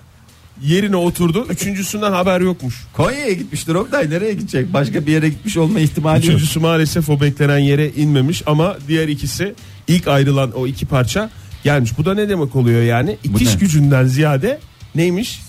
[SPEAKER 5] yerine oturdu. Üçüncüsünden haber yokmuş.
[SPEAKER 4] Konya'ya gitmiştir Oktay nereye gidecek? Başka bir yere gitmiş olma ihtimali yok.
[SPEAKER 5] Üçüncüsü maalesef o beklenen yere inmemiş ama diğer ikisi ilk ayrılan o iki parça gelmiş. Bu da ne demek oluyor yani?
[SPEAKER 4] Bu
[SPEAKER 5] İtiş
[SPEAKER 4] ne?
[SPEAKER 5] gücünden ziyade neymiş?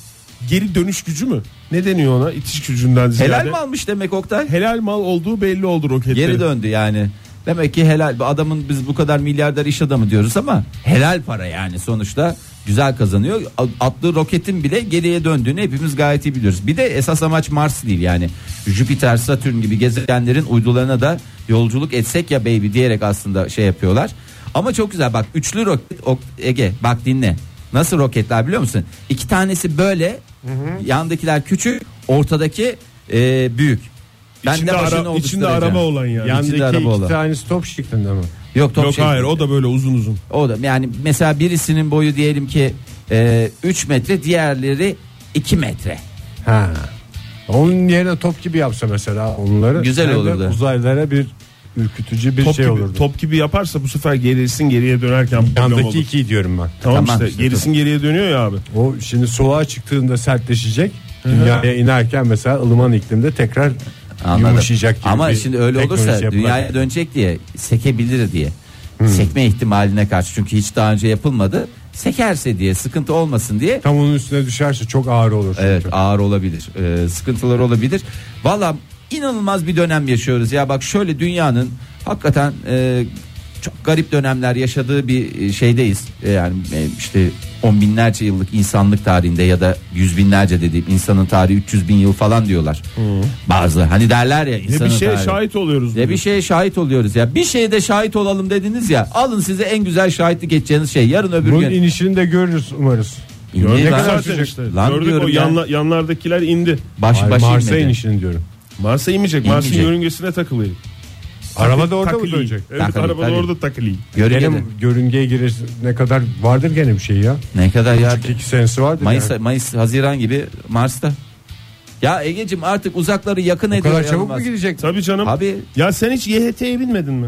[SPEAKER 5] Geri dönüş gücü mü? Ne deniyor ona? İtiş gücünden ziyade.
[SPEAKER 4] Helal mi almış demek Oktay?
[SPEAKER 5] Helal mal olduğu belli oldu roketlerin.
[SPEAKER 4] Geri döndü yani. Demek ki helal Bu adamın biz bu kadar milyarder iş adamı diyoruz ama helal para yani sonuçta güzel kazanıyor. A- Attığı roketin bile geriye döndüğünü hepimiz gayet iyi biliyoruz. Bir de esas amaç Mars değil yani. Jüpiter, Satürn gibi gezegenlerin uydularına da yolculuk etsek ya baby diyerek aslında şey yapıyorlar. Ama çok güzel bak üçlü roket Ok- Ege bak dinle. Nasıl roketler biliyor musun? İki tanesi böyle yandakiler küçük ortadaki e, büyük. Ben
[SPEAKER 5] İçinde,
[SPEAKER 4] de
[SPEAKER 5] ara-
[SPEAKER 4] başına oldu
[SPEAKER 5] içinde
[SPEAKER 4] sürece.
[SPEAKER 5] araba olan yani.
[SPEAKER 3] Yandaki
[SPEAKER 4] İçinde
[SPEAKER 3] iki
[SPEAKER 4] araba olan.
[SPEAKER 3] tanesi top şeklinde mi?
[SPEAKER 4] Yok top
[SPEAKER 5] Yok
[SPEAKER 4] şey-
[SPEAKER 5] hayır o da böyle uzun uzun.
[SPEAKER 4] O da yani mesela birisinin boyu diyelim ki 3 metre diğerleri 2 metre.
[SPEAKER 3] Ha. Onun yerine top gibi yapsa mesela onları.
[SPEAKER 4] Güzel
[SPEAKER 3] hem de
[SPEAKER 4] olurdu.
[SPEAKER 3] Uzaylılara bir ürkütücü bir
[SPEAKER 5] top
[SPEAKER 3] şey
[SPEAKER 5] gibi,
[SPEAKER 3] olurdu.
[SPEAKER 5] Top gibi yaparsa bu sefer gerisin geriye dönerken problem olur.
[SPEAKER 3] Yandaki ikiyi diyorum ben.
[SPEAKER 4] Tamam
[SPEAKER 5] Tamam, işte,
[SPEAKER 4] işte,
[SPEAKER 5] gerisin geriye dönüyor ya abi.
[SPEAKER 3] O şimdi soğuğa çıktığında sertleşecek. Dünyaya inerken mesela ılıman iklimde tekrar
[SPEAKER 4] Anladım.
[SPEAKER 3] yumuşayacak gibi.
[SPEAKER 4] Ama
[SPEAKER 3] bir
[SPEAKER 4] şimdi öyle
[SPEAKER 3] teknoloji
[SPEAKER 4] olursa
[SPEAKER 3] yapılabilir.
[SPEAKER 4] dünyaya dönecek diye sekebilir diye. Sekme ihtimaline karşı çünkü hiç daha önce yapılmadı. Sekerse diye sıkıntı olmasın diye
[SPEAKER 3] Tam onun üstüne düşerse çok ağır olur. çünkü.
[SPEAKER 4] Evet ağır olabilir. Ee, sıkıntılar olabilir. Valla inanılmaz bir dönem yaşıyoruz. Ya bak şöyle dünyanın hakikaten e, çok garip dönemler yaşadığı bir e, şeydeyiz. E, Yani e, işte on binlerce yıllık insanlık tarihinde ya da yüz binlerce dediğim insanın tarihi 300 bin yıl falan diyorlar. Bazı hani derler ya
[SPEAKER 5] Ne
[SPEAKER 4] insanın
[SPEAKER 5] bir şeye
[SPEAKER 4] tarihi.
[SPEAKER 5] şahit oluyoruz.
[SPEAKER 4] Ya bir şeye şahit oluyoruz ya. Bir şeye de şahit olalım dediniz ya. Alın size en güzel şahitlik edeceğiniz şey. Yarın öbür gün.
[SPEAKER 3] Bunun inişini de görürüz umarız.
[SPEAKER 4] İndi
[SPEAKER 5] ne
[SPEAKER 4] lan.
[SPEAKER 5] kadar zaten işte.
[SPEAKER 4] Lan
[SPEAKER 5] Gördük
[SPEAKER 4] diyorum
[SPEAKER 5] o
[SPEAKER 4] ya.
[SPEAKER 5] yanla- yanlardakiler indi.
[SPEAKER 4] Baş,
[SPEAKER 3] Hayır,
[SPEAKER 4] başı
[SPEAKER 3] Mars'a
[SPEAKER 4] inmedi.
[SPEAKER 3] inişini diyorum.
[SPEAKER 5] Mars'a inmeyecek. Mars'ın
[SPEAKER 4] İnmeyecek.
[SPEAKER 5] yörüngesine takılıyor.
[SPEAKER 3] Araba da orada mı
[SPEAKER 5] Takılıyor.
[SPEAKER 3] dönecek?
[SPEAKER 5] Evet
[SPEAKER 4] Takılayım,
[SPEAKER 5] araba da
[SPEAKER 4] takılayım.
[SPEAKER 5] orada takılıyor.
[SPEAKER 4] Yörüngede.
[SPEAKER 3] Gene görüngeye girer ne kadar vardır gene bir şey ya.
[SPEAKER 4] Ne kadar ya?
[SPEAKER 3] İki senesi vardır.
[SPEAKER 4] Mayıs,
[SPEAKER 3] yani.
[SPEAKER 4] Mayıs, Haziran gibi Mars'ta. Ya Ege'cim artık uzakları yakın
[SPEAKER 3] O
[SPEAKER 4] ediyor.
[SPEAKER 3] kadar çabuk mu
[SPEAKER 4] Yılmaz.
[SPEAKER 3] gidecek?
[SPEAKER 5] Tabii canım.
[SPEAKER 4] Abi
[SPEAKER 5] Ya sen hiç YHT'ye binmedin mi?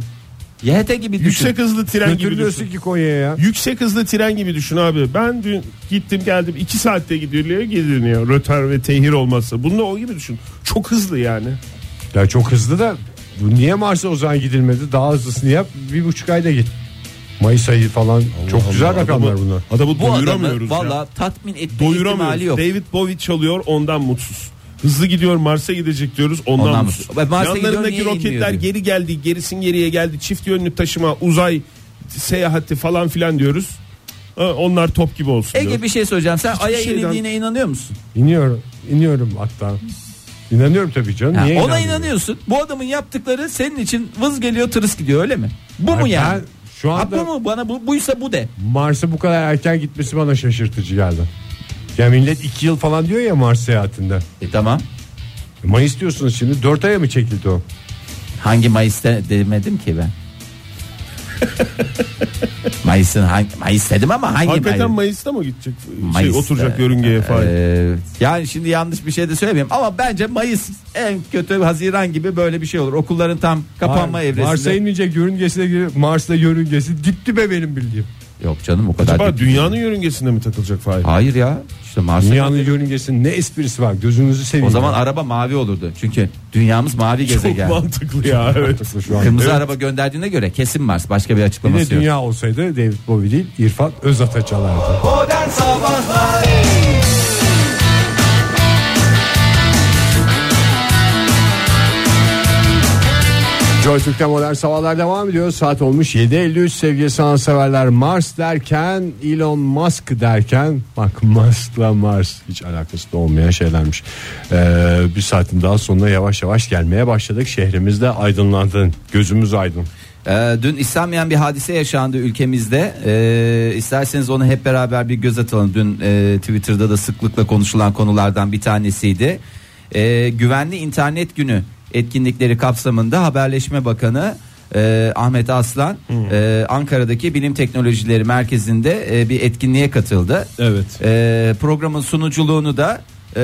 [SPEAKER 4] YHT gibi düşün.
[SPEAKER 5] Yüksek hızlı tren gibi
[SPEAKER 3] Götürüyorsun
[SPEAKER 5] düşün.
[SPEAKER 3] ki Konya'ya ya.
[SPEAKER 5] Yüksek hızlı tren gibi düşün abi. Ben dün gittim geldim 2 saatte gidiliyor gidiliyor. Rötar ve tehir olmazsa. Bunu da o gibi düşün. Çok hızlı yani.
[SPEAKER 3] Ya çok hızlı da bu niye Mars'a o zaman gidilmedi? Daha hızlısını yap bir buçuk ayda git. Mayıs ayı falan çok
[SPEAKER 5] Allah
[SPEAKER 3] güzel
[SPEAKER 5] Allah,
[SPEAKER 3] rakamlar
[SPEAKER 5] adamı-
[SPEAKER 3] bunlar.
[SPEAKER 5] Adamı
[SPEAKER 4] Bu
[SPEAKER 5] doyuramıyoruz
[SPEAKER 4] adamı
[SPEAKER 5] ya.
[SPEAKER 4] valla tatmin etme
[SPEAKER 5] Doyuramıyoruz.
[SPEAKER 4] ihtimali yok.
[SPEAKER 5] David Bowie çalıyor ondan mutsuz. Hızlı gidiyor Mars'a gidecek diyoruz ondan,
[SPEAKER 4] Ondan
[SPEAKER 5] mutsuz.
[SPEAKER 4] mutsuz. Ve Mars'a gidiyor,
[SPEAKER 5] Yanlarındaki
[SPEAKER 4] niye inmiyor
[SPEAKER 5] roketler
[SPEAKER 4] diyor.
[SPEAKER 5] geri geldi gerisin geriye geldi çift yönlü taşıma uzay seyahati falan filan diyoruz. Ha, Onlar top gibi olsun diyor.
[SPEAKER 4] Ege bir şey söyleyeceğim. Sen Ay'a
[SPEAKER 5] şeyden-
[SPEAKER 4] inildiğine inanıyor musun?
[SPEAKER 3] İniyorum. iniyorum hatta. İnanıyorum tabii canım.
[SPEAKER 4] Ha,
[SPEAKER 3] Niye
[SPEAKER 4] ona
[SPEAKER 3] inanmıyorum?
[SPEAKER 4] inanıyorsun. Bu adamın yaptıkları senin için vız geliyor tırıs gidiyor öyle mi? Bu mu
[SPEAKER 3] Ay,
[SPEAKER 4] yani?
[SPEAKER 3] ben şu
[SPEAKER 4] Ha,
[SPEAKER 3] anda-
[SPEAKER 4] bu mu? Bana bu, buysa bu de.
[SPEAKER 3] Mars'a bu kadar erken gitmesi bana şaşırtıcı geldi. Ya millet 2 yıl falan diyor ya Mars seyahatinde.
[SPEAKER 4] E tamam.
[SPEAKER 3] Mayıs diyorsunuz şimdi 4 aya mı çekildi o?
[SPEAKER 4] Hangi Mayıs'ta demedim ki ben. <laughs> Mayıs'ın hangi Mayıs dedim ama hangi
[SPEAKER 5] Hakikaten
[SPEAKER 4] Mayıs?
[SPEAKER 5] Mayıs'ta mı gidecek? Şey,
[SPEAKER 4] şey Mayıs'ta,
[SPEAKER 5] oturacak yörüngeye falan.
[SPEAKER 4] Ee, yani şimdi yanlış bir şey de söylemeyeyim ama bence Mayıs en kötü Haziran gibi böyle bir şey olur. Okulların tam kapanma
[SPEAKER 3] Mar-
[SPEAKER 4] evresinde.
[SPEAKER 3] Mars'a inmeyecek yörüngesine girip Mars'ta yörüngesi dipti be benim bildiğim.
[SPEAKER 4] Yok canım o kadar.
[SPEAKER 5] Acaba
[SPEAKER 4] değil.
[SPEAKER 5] dünyanın yörüngesinde mi
[SPEAKER 4] <laughs>
[SPEAKER 5] takılacak Fahir?
[SPEAKER 4] Hayır ya. İşte Mars'a
[SPEAKER 3] Dünyanın yörüngesinin ne esprisi var gözünüzü seveyim.
[SPEAKER 4] O zaman
[SPEAKER 3] ya.
[SPEAKER 4] araba mavi olurdu. Çünkü dünyamız mavi
[SPEAKER 5] Çok
[SPEAKER 4] gezegen.
[SPEAKER 5] mantıklı ya evet.
[SPEAKER 4] <laughs>
[SPEAKER 3] Haklı şu an.
[SPEAKER 4] Kırmızı araba gönderdiğine göre kesin Mars. Başka bir
[SPEAKER 3] Bir de
[SPEAKER 4] açıklaması yok.
[SPEAKER 3] dünya olsaydı David Bowie değil İrfan Özat'a çalardı.
[SPEAKER 2] Modern Sabahlar
[SPEAKER 3] Joy Türk'te modern sabahlar devam ediyor. Saat olmuş 7.53 sevgili sanatseverler. Mars derken Elon Musk derken bak Musk'la Mars hiç alakası da olmayan şeylermiş. Ee, bir saatin daha sonuna yavaş yavaş gelmeye başladık. Şehrimizde aydınlandı. Gözümüz aydın.
[SPEAKER 4] Ee, dün istenmeyen bir hadise yaşandı ülkemizde. Ee, isterseniz onu hep beraber bir göz atalım. Dün e, Twitter'da da sıklıkla konuşulan konulardan bir tanesiydi. Ee, güvenli internet günü etkinlikleri kapsamında Haberleşme Bakanı e, Ahmet Aslan e, Ankara'daki Bilim Teknolojileri Merkezi'nde e, bir etkinliğe katıldı.
[SPEAKER 5] Evet.
[SPEAKER 4] Ee, programın sunuculuğunu da e,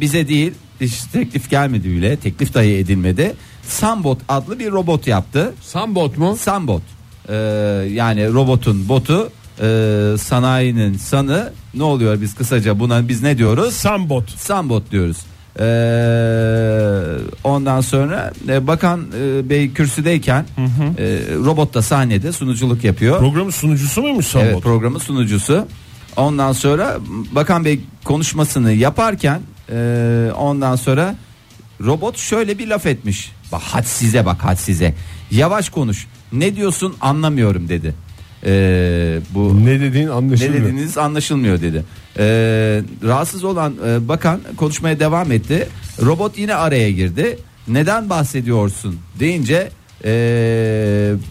[SPEAKER 4] bize değil hiç teklif gelmedi bile teklif dahi edilmedi. Sambot adlı bir robot yaptı.
[SPEAKER 3] Sambot mu?
[SPEAKER 4] Sambot Ee, yani robotun botu e, sanayinin sanı ne oluyor biz kısaca buna biz ne diyoruz?
[SPEAKER 5] Sambot.
[SPEAKER 4] Sambot diyoruz. Ee, ondan sonra e, bakan e, bey kürsüdeyken e, robot da sahnede sunuculuk yapıyor.
[SPEAKER 5] Programın sunucusu muymuş Sambot?
[SPEAKER 4] Evet programın sunucusu. Ondan sonra Bakan Bey konuşmasını yaparken e, ondan sonra robot şöyle bir laf etmiş. Bak had size bak had size. Yavaş konuş. Ne diyorsun anlamıyorum dedi. E, bu
[SPEAKER 3] Ne dediğin
[SPEAKER 4] ne
[SPEAKER 3] anlaşılmıyor.
[SPEAKER 4] dediğiniz anlaşılmıyor dedi. Ee, rahatsız olan e, bakan konuşmaya devam etti. Robot yine araya girdi. Neden bahsediyorsun deyince e,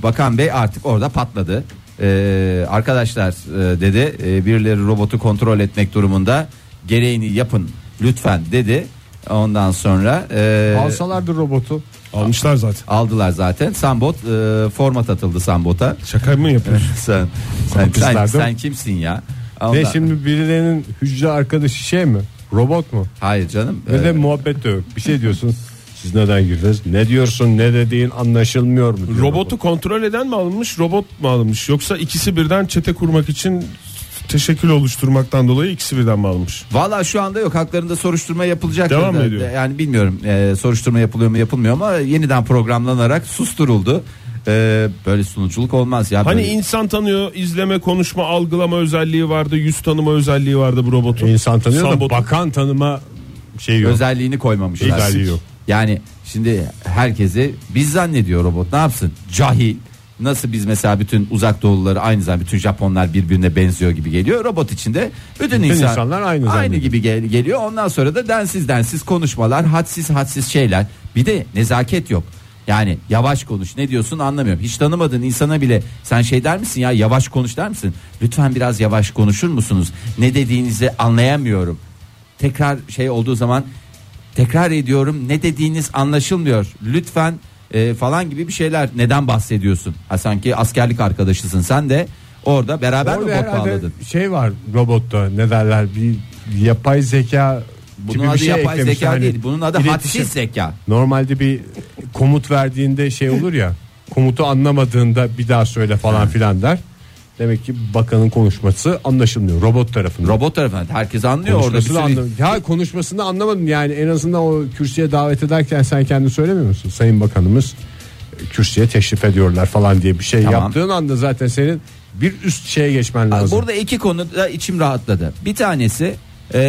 [SPEAKER 4] bakan bey artık orada patladı. E, arkadaşlar e, dedi e, birileri robotu kontrol etmek durumunda gereğini yapın lütfen dedi. Ondan sonra e,
[SPEAKER 3] Alsalardı robotu.
[SPEAKER 5] Almışlar zaten.
[SPEAKER 4] aldılar zaten. Sambot e, format atıldı Sambot'a.
[SPEAKER 5] Şaka mı yapıyorsun?
[SPEAKER 4] sen, sen, sen,
[SPEAKER 3] Kızlar değil mi?
[SPEAKER 4] sen kimsin ya?
[SPEAKER 3] Ne
[SPEAKER 4] Ondan-
[SPEAKER 3] şimdi birilerinin hücre arkadaşı şey mi? Robot mu?
[SPEAKER 4] Hayır canım.
[SPEAKER 3] Ne
[SPEAKER 4] Ee,
[SPEAKER 3] de muhabbet de yok. Bir şey diyorsun. Siz neden girdiniz? Ne diyorsun? Ne dediğin anlaşılmıyor mu? diyor
[SPEAKER 5] Robotu kontrol eden mi alınmış robot mu alınmış yoksa ikisi birden çete kurmak için teşekkül oluşturmaktan dolayı ikisi birden mi alınmış?
[SPEAKER 4] Valla şu anda yok haklarında soruşturma yapılacak.
[SPEAKER 5] Devam
[SPEAKER 4] Ya
[SPEAKER 5] mı ediyor?
[SPEAKER 4] Yani bilmiyorum e, soruşturma yapılıyor mu yapılmıyor ama yeniden programlanarak susturuldu. E, böyle sunuculuk olmaz ya.
[SPEAKER 5] Hani
[SPEAKER 4] Böyle-
[SPEAKER 5] insan tanıyor, izleme, konuşma, algılama özelliği vardı, yüz tanıma özelliği vardı bu robotun.
[SPEAKER 3] İnsan tanıyor da
[SPEAKER 5] Sambot'un.
[SPEAKER 3] bakan tanıma şeyi yok.
[SPEAKER 4] özelliğini koymamışlar.
[SPEAKER 3] Özelliği yok.
[SPEAKER 4] Yani şimdi herkesi biz zannediyor robot ne yapsın? Cahil. Nasıl biz mesela bütün uzak doğuluları aynı zaman bütün Japonlar birbirine benziyor gibi geliyor. Robot içinde bütün, insan-
[SPEAKER 3] insanlar aynı
[SPEAKER 4] aynı
[SPEAKER 3] zannediyor.
[SPEAKER 4] Hani gibi gel- geliyor. Ondan sonra da densiz densiz konuşmalar, hadsiz hadsiz şeyler. Bir de nezaket yok. Yani yavaş konuş ne diyorsun anlamıyorum. Hiç tanımadığın insana bile sen şey der misin ya yavaş konuş der misin? Lütfen biraz yavaş konuşur musunuz? Ne dediğinizi anlayamıyorum. Tekrar şey olduğu zaman tekrar ediyorum ne dediğiniz anlaşılmıyor. Lütfen e, falan gibi bir şeyler neden bahsediyorsun? Ha, sanki askerlik arkadaşısın sen de orada beraber mi
[SPEAKER 3] Orada
[SPEAKER 4] bot
[SPEAKER 3] herhalde
[SPEAKER 4] bağladın?
[SPEAKER 3] Şey var robotta ne derler bir yapay zeka
[SPEAKER 4] Bunun
[SPEAKER 3] gibi
[SPEAKER 4] adı
[SPEAKER 3] bir şey
[SPEAKER 4] yapay
[SPEAKER 3] eklemiş.
[SPEAKER 4] zeka
[SPEAKER 3] Yani
[SPEAKER 4] değil. Bunun adı
[SPEAKER 3] iletişim.
[SPEAKER 4] hadsiz zeka.
[SPEAKER 3] Normalde bir komut verdiğinde şey olur ya komutu anlamadığında bir daha söyle falan filan der. Demek ki bakanın konuşması anlaşılmıyor robot tarafından.
[SPEAKER 4] Robot tarafından herkes anlıyor orada.
[SPEAKER 3] konuşmasını
[SPEAKER 4] Bir sürü-
[SPEAKER 3] anlamadım. Ya konuşmasını anlamadım yani en azından o kürsüye davet ederken sen kendin söylemiyor musun? Sayın Bakanımız e, kürsüye teşrif ediyorlar falan diye bir şey
[SPEAKER 4] Tamam.
[SPEAKER 3] yaptığın anda zaten senin bir üst şeye geçmen
[SPEAKER 4] Aa,
[SPEAKER 3] lazım.
[SPEAKER 4] Burada iki konuda içim rahatladı. Bir tanesi eee,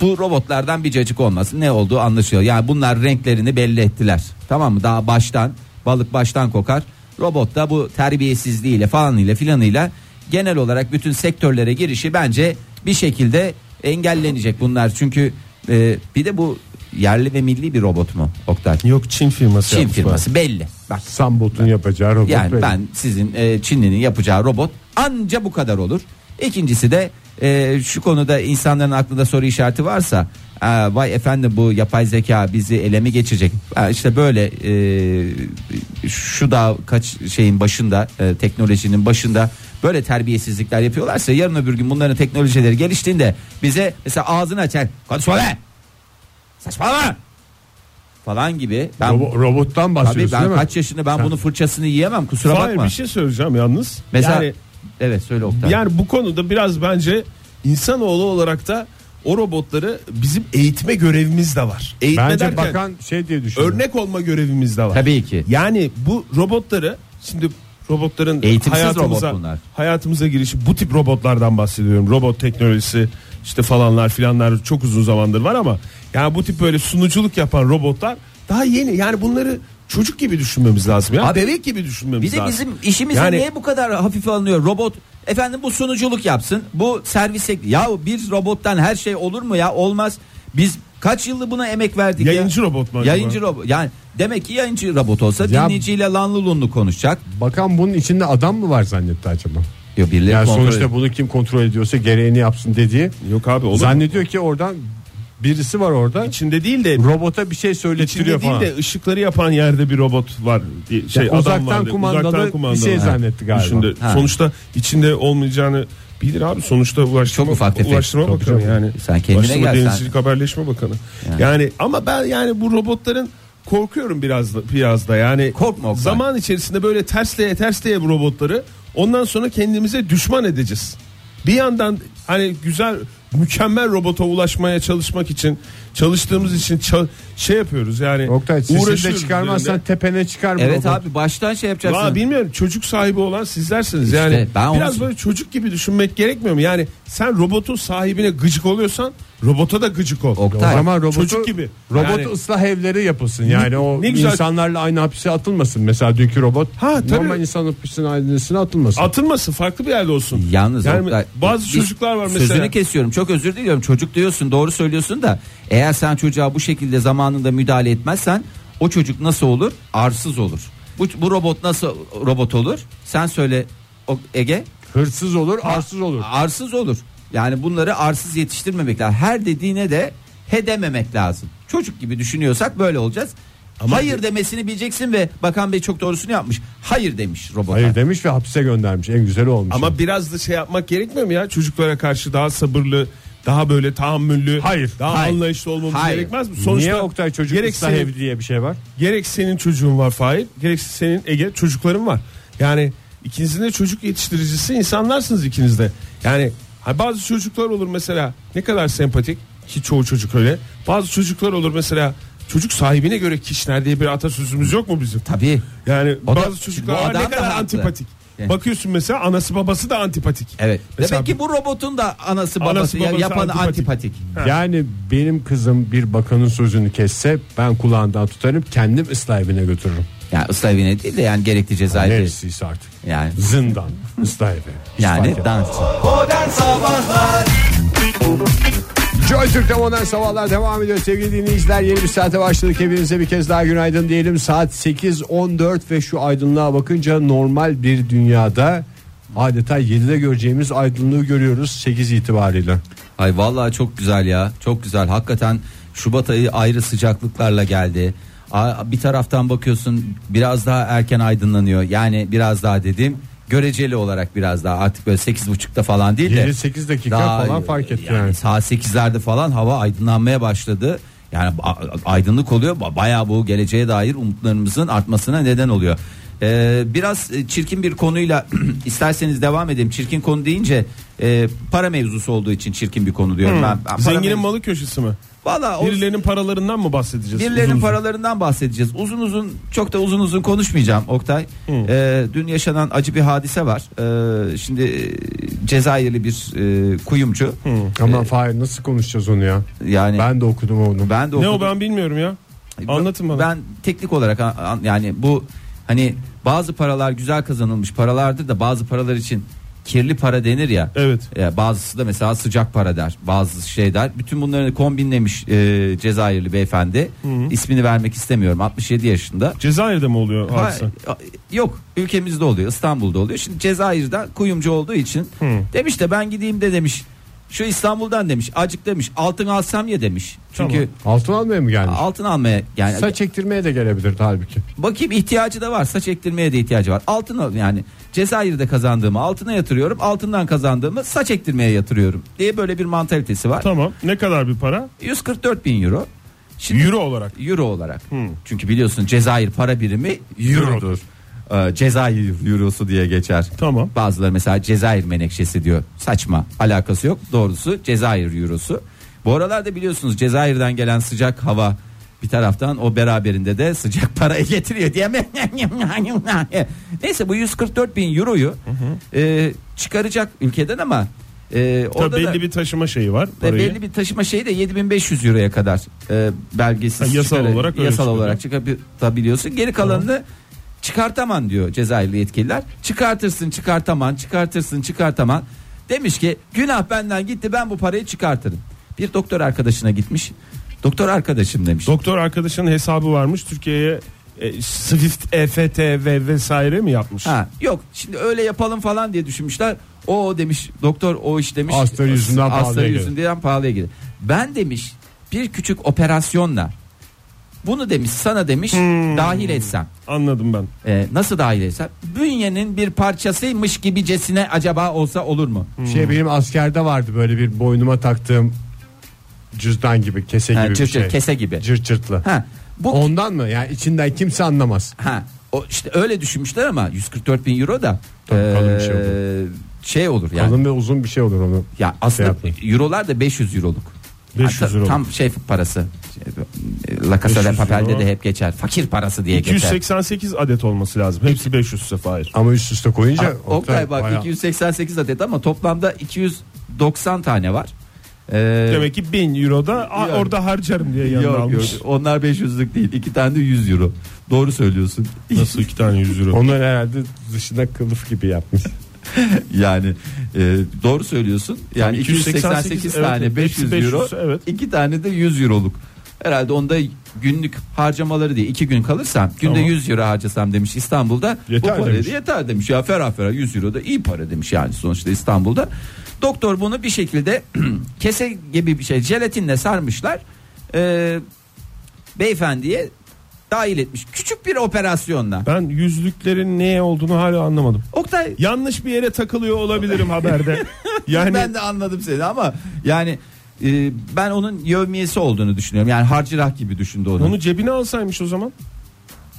[SPEAKER 4] bu robotlardan bir cacık olmasın. Ne olduğu anlaşılıyor. Yani bunlar renklerini belli ettiler. Tamam mı? Daha baştan balık baştan kokar. Robot da bu terbiyesizliğiyle falanıyla filanıyla genel olarak bütün sektörlere girişi bence bir şekilde engellenecek bunlar. Çünkü eee, bir de bu yerli ve milli bir robot mu Oktay?
[SPEAKER 5] Yok Çin firması
[SPEAKER 4] Çin
[SPEAKER 5] yapmış
[SPEAKER 4] firması belli. Bak
[SPEAKER 3] Sambot'un yapacağı robot
[SPEAKER 4] yani
[SPEAKER 3] benim.
[SPEAKER 4] ben sizin e, Çinli'nin yapacağı robot anca bu kadar olur. İkincisi de e, şu konuda insanların aklında soru işareti varsa "Aa, vay efendim bu yapay zeka bizi ele mi geçirecek? Ha, işte böyle e, şu da kaç şeyin başında e, teknolojinin başında böyle terbiyesizlikler yapıyorlarsa yarın öbür gün bunların teknolojileri geliştiğinde bize mesela ağzını açar konuşma be saçmalama falan gibi ben
[SPEAKER 3] Robo- robottan
[SPEAKER 4] Tabii
[SPEAKER 3] bahsediyorsun
[SPEAKER 4] ben
[SPEAKER 3] değil mi?
[SPEAKER 4] kaç yaşında ben bunun fırçasını yiyemem kusura
[SPEAKER 5] Hayır
[SPEAKER 4] bakma.
[SPEAKER 5] bir şey söyleyeceğim yalnız.
[SPEAKER 4] Mesela
[SPEAKER 5] yani,
[SPEAKER 4] evet söyle Oktay.
[SPEAKER 5] yani bu konuda biraz bence insanoğlu olarak da o robotları bizim eğitme görevimiz de var. Eğitme
[SPEAKER 3] Bence
[SPEAKER 5] derken
[SPEAKER 3] bakan şey diye düşünüyor.
[SPEAKER 5] örnek olma görevimiz de var.
[SPEAKER 4] Tabii ki.
[SPEAKER 5] Yani bu robotları şimdi robotların
[SPEAKER 4] Eğitimsiz
[SPEAKER 5] hayatımıza,
[SPEAKER 4] robot bunlar.
[SPEAKER 5] hayatımıza girişi bu tip robotlardan bahsediyorum. Robot teknolojisi işte falanlar filanlar çok uzun zamandır var ama yani bu tip böyle sunuculuk yapan robotlar daha yeni. Yani bunları çocuk gibi düşünmemiz lazım ya.
[SPEAKER 4] Abi,
[SPEAKER 5] bebek gibi düşünmemiz
[SPEAKER 4] Bir de
[SPEAKER 5] lazım.
[SPEAKER 4] bizim işimize
[SPEAKER 5] Yani-
[SPEAKER 4] niye bu kadar hafife alınıyor? Robot efendim bu sunuculuk yapsın. Bu servis ya bir robottan her şey olur mu ya? Olmaz. Biz kaç yıldır buna emek verdik ya?
[SPEAKER 5] Yayıncı robot mu acaba?
[SPEAKER 4] Yayıncı robot. Yani demek ki yayıncı robot olsa
[SPEAKER 3] Ya-
[SPEAKER 4] dinleyiciyle lanlı lunlu konuşacak.
[SPEAKER 3] Bakan bunun içinde adam mı var zannetti acaba?
[SPEAKER 4] Yo, birileri
[SPEAKER 3] Yani
[SPEAKER 4] kontrol
[SPEAKER 3] sonuçta
[SPEAKER 4] ediyor.
[SPEAKER 3] bunu kim kontrol ediyorsa gereğini yapsın dediği.
[SPEAKER 5] Yok abi olur. mu?
[SPEAKER 3] Zannediyor ki oradan birisi var orada.
[SPEAKER 5] İçinde değil de
[SPEAKER 3] Robota bir şey
[SPEAKER 5] içinde
[SPEAKER 3] söylettiriyor
[SPEAKER 5] değil
[SPEAKER 3] falan.
[SPEAKER 5] de ışıkları yapan yerde bir robot var diye şey
[SPEAKER 3] Ya
[SPEAKER 5] adam
[SPEAKER 3] uzaktan
[SPEAKER 5] var diye,
[SPEAKER 3] kumandalı bir şey zannetti galiba.
[SPEAKER 5] Düşündü.
[SPEAKER 4] Ha.
[SPEAKER 5] Sonuçta içinde olmayacağını bilir abi sonuçta ulaştırma,
[SPEAKER 4] Çok ufak tefek.
[SPEAKER 5] ulaştırma
[SPEAKER 4] Çok
[SPEAKER 5] bakanı
[SPEAKER 4] çok.
[SPEAKER 5] yani.
[SPEAKER 4] Sen kendine
[SPEAKER 5] Ulaştırma,
[SPEAKER 4] gel sen.
[SPEAKER 5] Denizcilik Haberleşme Bakanı. Yani. ama ben yani bu robotların korkuyorum biraz da, biraz da yani
[SPEAKER 4] Korkma Oktay.
[SPEAKER 5] zaman içerisinde böyle tersleye tersleye bu robotları ondan sonra kendimize düşman edeceğiz. Bir yandan hani güzel mükemmel robota ulaşmaya çalışmak için çalıştığımız için ça- şey yapıyoruz yani
[SPEAKER 3] Oktay sesini de
[SPEAKER 5] uğraşıyoruz
[SPEAKER 3] çıkarmazsan
[SPEAKER 5] üzerinde.
[SPEAKER 3] tepene çıkar bu
[SPEAKER 4] Evet
[SPEAKER 3] robot.
[SPEAKER 4] abi baştan şey yapacaksın.
[SPEAKER 5] Valla bilmiyorum çocuk sahibi olan sizlersiniz
[SPEAKER 4] İşte
[SPEAKER 5] yani
[SPEAKER 4] ben onu-
[SPEAKER 5] biraz böyle çocuk gibi düşünmek gerekmiyor mu yani sen robotun sahibine gıcık oluyorsan robota da gıcık ol.
[SPEAKER 4] Oktay.
[SPEAKER 3] O zaman robotu,
[SPEAKER 5] Çocuk gibi.
[SPEAKER 3] Robot
[SPEAKER 5] Yani-
[SPEAKER 3] ıslah evleri yapılsın. Yani o
[SPEAKER 5] ne güzel-
[SPEAKER 3] insanlarla aynı hapise atılmasın. Mesela dünkü robot
[SPEAKER 5] Ha, tabii.
[SPEAKER 3] normal insan hapisinin aynısına atılmasın.
[SPEAKER 5] Atılmasın farklı bir yerde olsun.
[SPEAKER 4] Yalnız
[SPEAKER 5] Yani
[SPEAKER 4] Oktay,
[SPEAKER 5] bazı
[SPEAKER 4] bir-
[SPEAKER 5] çocuklar var mesela.
[SPEAKER 4] Sözünü kesiyorum. Çok özür diliyorum. Çocuk diyorsun, doğru söylüyorsun da eğer sen çocuğa bu şekilde zamanında müdahale etmezsen o çocuk nasıl olur? Arsız olur. Bu, bu robot nasıl robot olur? Sen söyle o, Ege.
[SPEAKER 3] Hırsız olur, arsız olur.
[SPEAKER 4] Arsız olur. Yani bunları arsız yetiştirmemek lazım. Her dediğine de he dememek lazım. Çocuk gibi düşünüyorsak böyle olacağız. hayır demesini bileceksin ve Bakan Bey çok doğrusunu yapmış. Hayır demiş robota.
[SPEAKER 3] Hayır demiş ve hapise göndermiş. En güzeli olmuş.
[SPEAKER 5] Ama biraz da şey yapmak gerekmiyor mu ya çocuklara karşı daha sabırlı daha böyle tahammüllü
[SPEAKER 3] Hayır,
[SPEAKER 5] daha
[SPEAKER 3] hayır.
[SPEAKER 5] anlayışlı olmamız
[SPEAKER 4] Hayır.
[SPEAKER 5] gerekmez mi? Sonuçta
[SPEAKER 3] Niye Oktay çocuk
[SPEAKER 5] gerek
[SPEAKER 3] ıslah
[SPEAKER 5] senin-
[SPEAKER 3] evi diye bir şey var?
[SPEAKER 5] Gerek senin çocuğun var Fahir gerek senin Ege çocukların var. Yani ikinizin de çocuk yetiştiricisi insanlarsınız ikiniz de. Yani ha bazı çocuklar olur mesela ne kadar sempatik ki çoğu çocuk öyle. Bazı çocuklar olur mesela çocuk sahibine göre kişner diye bir atasözümüz yok mu bizim?
[SPEAKER 4] Tabii.
[SPEAKER 5] Yani
[SPEAKER 4] O da-
[SPEAKER 5] bazı çocuklar
[SPEAKER 4] Bu
[SPEAKER 5] var,
[SPEAKER 4] adam
[SPEAKER 5] ne
[SPEAKER 4] da
[SPEAKER 5] kadar
[SPEAKER 4] haklı.
[SPEAKER 5] antipatik.
[SPEAKER 4] Yani.
[SPEAKER 5] Bakıyorsun mesela anası babası da antipatik.
[SPEAKER 4] Evet.
[SPEAKER 5] Mesela
[SPEAKER 4] Demek ki bu robotun da anası babası,
[SPEAKER 5] Anası,
[SPEAKER 4] ya-
[SPEAKER 5] babası
[SPEAKER 4] yapanı
[SPEAKER 5] antipatik.
[SPEAKER 4] antipatik.
[SPEAKER 3] Yani benim kızım bir bakanın sözünü kesse ben kulağından tutarım kendim ıslah evine götürürüm.
[SPEAKER 4] Yani ıslah evine değil de yani gerekli cezayı. verir.
[SPEAKER 3] Neresiyse artık.
[SPEAKER 4] Yani
[SPEAKER 3] Zindan ıslah evi. Hiç fark
[SPEAKER 4] yani
[SPEAKER 3] etmez.
[SPEAKER 4] dans.
[SPEAKER 2] Modern Sabahlar
[SPEAKER 3] Joy Türk'te modern sabahlar devam ediyor sevgili dinleyiciler. Yeni bir saate başladık. Hepinize bir kez daha günaydın diyelim. Saat 8.14 ve şu aydınlığa bakınca normal bir dünyada adeta 7'de göreceğimiz aydınlığı görüyoruz 8 itibariyle.
[SPEAKER 4] Ay vallahi çok güzel ya. Çok güzel. Hakikaten Şubat ayı ayrı sıcaklıklarla geldi. A- Bir taraftan bakıyorsun biraz daha erken aydınlanıyor. Yani biraz daha dedim göreceli olarak biraz daha artık böyle sekiz buçukta falan değil de
[SPEAKER 3] 7-8 dakika falan fark etti yani.
[SPEAKER 4] Saat 8'lerde falan hava aydınlanmaya başladı. Yani a- aydınlık oluyor. Ba- Bayağı bu geleceğe dair umutlarımızın artmasına neden oluyor. Ee, Ee, biraz e, çirkin bir konuyla <clears throat> isterseniz devam edelim. Çirkin konu deyince e, para mevzusu olduğu için çirkin bir konu diyorum ben. ben. para
[SPEAKER 5] Hmm. Zenginin
[SPEAKER 4] mevzu-
[SPEAKER 5] malı köşesi mi?
[SPEAKER 4] Valla o-
[SPEAKER 5] Birilerinin paralarından mı bahsedeceğiz?
[SPEAKER 4] Birilerinin
[SPEAKER 5] Uzun uzun.
[SPEAKER 4] paralarından bahsedeceğiz. Uzun uzun çok da uzun uzun konuşmayacağım Oktay.
[SPEAKER 5] Hmm.
[SPEAKER 4] Ee, dün yaşanan acı bir hadise var. Ee, şimdi e, Cezayirli bir e, kuyumcu.
[SPEAKER 5] Hmm.
[SPEAKER 3] Aman Fahir nasıl konuşacağız onu ya?
[SPEAKER 4] Yani Ee, ben,
[SPEAKER 3] Ben de okudum onu.
[SPEAKER 4] de
[SPEAKER 5] Ne o
[SPEAKER 4] okudum.
[SPEAKER 5] ben bilmiyorum ya. Anlatın bana.
[SPEAKER 4] E, Ben teknik olarak a- a- yani bu hani bazı paralar güzel kazanılmış paralardır da bazı paralar için kirli para denir ya.
[SPEAKER 5] Evet.
[SPEAKER 4] Ya bazısı da mesela sıcak para der, bazı şey der. Bütün bunları kombinlemiş e, Cezayirli beyefendi. İsmini vermek istemiyorum. 67 yaşında.
[SPEAKER 5] Cezayir'de mi oluyor hadise?
[SPEAKER 4] Ha, e, yok ülkemizde oluyor İstanbul'da oluyor. Şimdi Cezayir'de kuyumcu olduğu için demiş de ben gideyim de demiş. Şu İstanbul'dan demiş acık demiş altın alsam ya demiş. Çünkü
[SPEAKER 3] Altın almaya mı gelmiş?
[SPEAKER 4] altın almaya yani
[SPEAKER 3] Saç ektirmeye de gelebilirdi halbuki.
[SPEAKER 4] bakayım ihtiyacı da var saç ektirmeye de ihtiyacı var. Altın al yani Cezayir'de kazandığımı altına yatırıyorum altından kazandığımı saç ektirmeye yatırıyorum diye böyle bir mantalitesi var.
[SPEAKER 5] Tamam. Ne kadar bir para?
[SPEAKER 4] 144 bin euro. Şimdi
[SPEAKER 5] Euro olarak.
[SPEAKER 4] euro olarak. Çünkü biliyorsun Cezayir para birimi eurodur. Ee, Cezayir eurosu diye geçer.
[SPEAKER 5] Tamam.
[SPEAKER 4] Bazıları mesela Cezayir menekşesi diyor. Saçma. Alakası yok. Doğrusu Cezayir eurosu. Bu aralarda biliyorsunuz Cezayir'den gelen sıcak hava bir taraftan o beraberinde de sıcak <laughs> parayı getiriyor diye. Neyse bu 144 bin euroyu e, çıkaracak ülkeden ama e,
[SPEAKER 5] Tabii
[SPEAKER 4] orada da-
[SPEAKER 5] belli bir taşıma şeyi var.
[SPEAKER 4] ve
[SPEAKER 5] Parayı.
[SPEAKER 4] belli bir taşıma şeyi de 7500 euroya kadar e, belgesiz
[SPEAKER 5] Ha, yasal olarak öyle
[SPEAKER 4] yasal
[SPEAKER 5] çıkıyor.
[SPEAKER 4] olarak çıkartabiliyorsun. Geri kalanını çıkartaman diyor Cezayirli yetkililer. Çıkartırsın çıkartaman çıkartırsın çıkartaman. Demiş ki günah benden gitti ben bu parayı çıkartırım. Bir doktor arkadaşına gitmiş. Doktor arkadaşım demiş.
[SPEAKER 5] Doktor arkadaşının hesabı varmış. Türkiye'ye e, Swift, EFT ve vesaire mi yapmış?
[SPEAKER 4] ha, yok şimdi öyle yapalım falan diye düşünmüşler. O demiş doktor o iş demiş.
[SPEAKER 3] Astarı yüzünden
[SPEAKER 4] Astarı
[SPEAKER 3] pahalıya gelir.
[SPEAKER 4] yüzünden pahalıya gelir. Ben demiş bir küçük operasyonla bunu demiş sana demiş
[SPEAKER 3] Hmm.
[SPEAKER 4] dahil etsem.
[SPEAKER 5] Anladım ben.
[SPEAKER 4] Ee, nasıl dahil etsem? Bünyenin bir parçasıymış gibicesine acaba olsa olur mu?
[SPEAKER 3] Şey benim askerde vardı böyle bir boynuma taktığım cüzdan gibi kese gibi
[SPEAKER 4] Ha,
[SPEAKER 3] bir
[SPEAKER 4] cırt
[SPEAKER 3] şey.
[SPEAKER 4] cırt, kese gibi.
[SPEAKER 3] Cırt cırtlı.
[SPEAKER 4] Ha, bu
[SPEAKER 3] Ondan mı? Yani içinden kimse anlamaz.
[SPEAKER 4] Ha, o işte öyle düşünmüşler ama 144 bin euro da
[SPEAKER 3] Tabii kalın bir şey
[SPEAKER 4] şey olur. yani.
[SPEAKER 3] Kalın ve uzun bir şey olur onu.
[SPEAKER 4] Ya aslında
[SPEAKER 3] Şey
[SPEAKER 4] eurolar da 500 euroluk.
[SPEAKER 5] 500
[SPEAKER 4] Yani ta-
[SPEAKER 5] euroluk.
[SPEAKER 4] Tam şey parası. Şey, La Casa de
[SPEAKER 5] 500
[SPEAKER 4] Papel'de
[SPEAKER 5] euro.
[SPEAKER 4] de hep geçer. Fakir parası diye geçer.
[SPEAKER 5] 288 adet olması
[SPEAKER 4] E
[SPEAKER 5] lazım. Hepsi 500 sefer.
[SPEAKER 3] Ama üst üste koyunca
[SPEAKER 4] Ha, Oktay bak
[SPEAKER 3] bayağı-
[SPEAKER 4] 288 adet ama toplamda 290 tane var. Ee,
[SPEAKER 5] Demek ki 1000 euro da a,
[SPEAKER 4] Yok.
[SPEAKER 5] orada harcarım diye yanına
[SPEAKER 4] yok, yok,
[SPEAKER 5] almış.
[SPEAKER 4] onlar 500'lük değil. iki tane de 100 euro. Doğru söylüyorsun.
[SPEAKER 5] <laughs> Nasıl iki tane 100 euro?
[SPEAKER 3] Onlar herhalde dışına kılıf gibi yapmış.
[SPEAKER 4] yani e, doğru söylüyorsun. Yani
[SPEAKER 5] 288
[SPEAKER 4] 288
[SPEAKER 5] evet,
[SPEAKER 4] tane
[SPEAKER 5] hepsi
[SPEAKER 4] 500 euro,
[SPEAKER 5] 500, evet.
[SPEAKER 4] iki tane de 100 euroluk. Herhalde onda günlük harcamaları diye iki gün kalırsam günde
[SPEAKER 5] Tamam.
[SPEAKER 4] 100 euro harcasam demiş İstanbul'da
[SPEAKER 5] Yeter
[SPEAKER 4] bu para
[SPEAKER 5] demiş.
[SPEAKER 4] da yeter demiş ya ferah ferah 100 euro da iyi para demiş yani sonuçta İstanbul'da. Doktor bunu bir şekilde <clears throat> kese gibi bir şey jelatinle sarmışlar. Ee, beyefendiye dahil etmiş küçük bir operasyonla.
[SPEAKER 5] Ben yüzlüklerin ne olduğunu hala anlamadım.
[SPEAKER 4] Oktay
[SPEAKER 5] Yanlış bir yere takılıyor
[SPEAKER 4] <laughs>
[SPEAKER 5] olabilirim haberde. Yani
[SPEAKER 4] ben de anladım seni ama yani e, ben onun yövmiyesi olduğunu düşünüyorum. Yani harcırah gibi düşündü onu.
[SPEAKER 5] onu cebine alsaymış o zaman.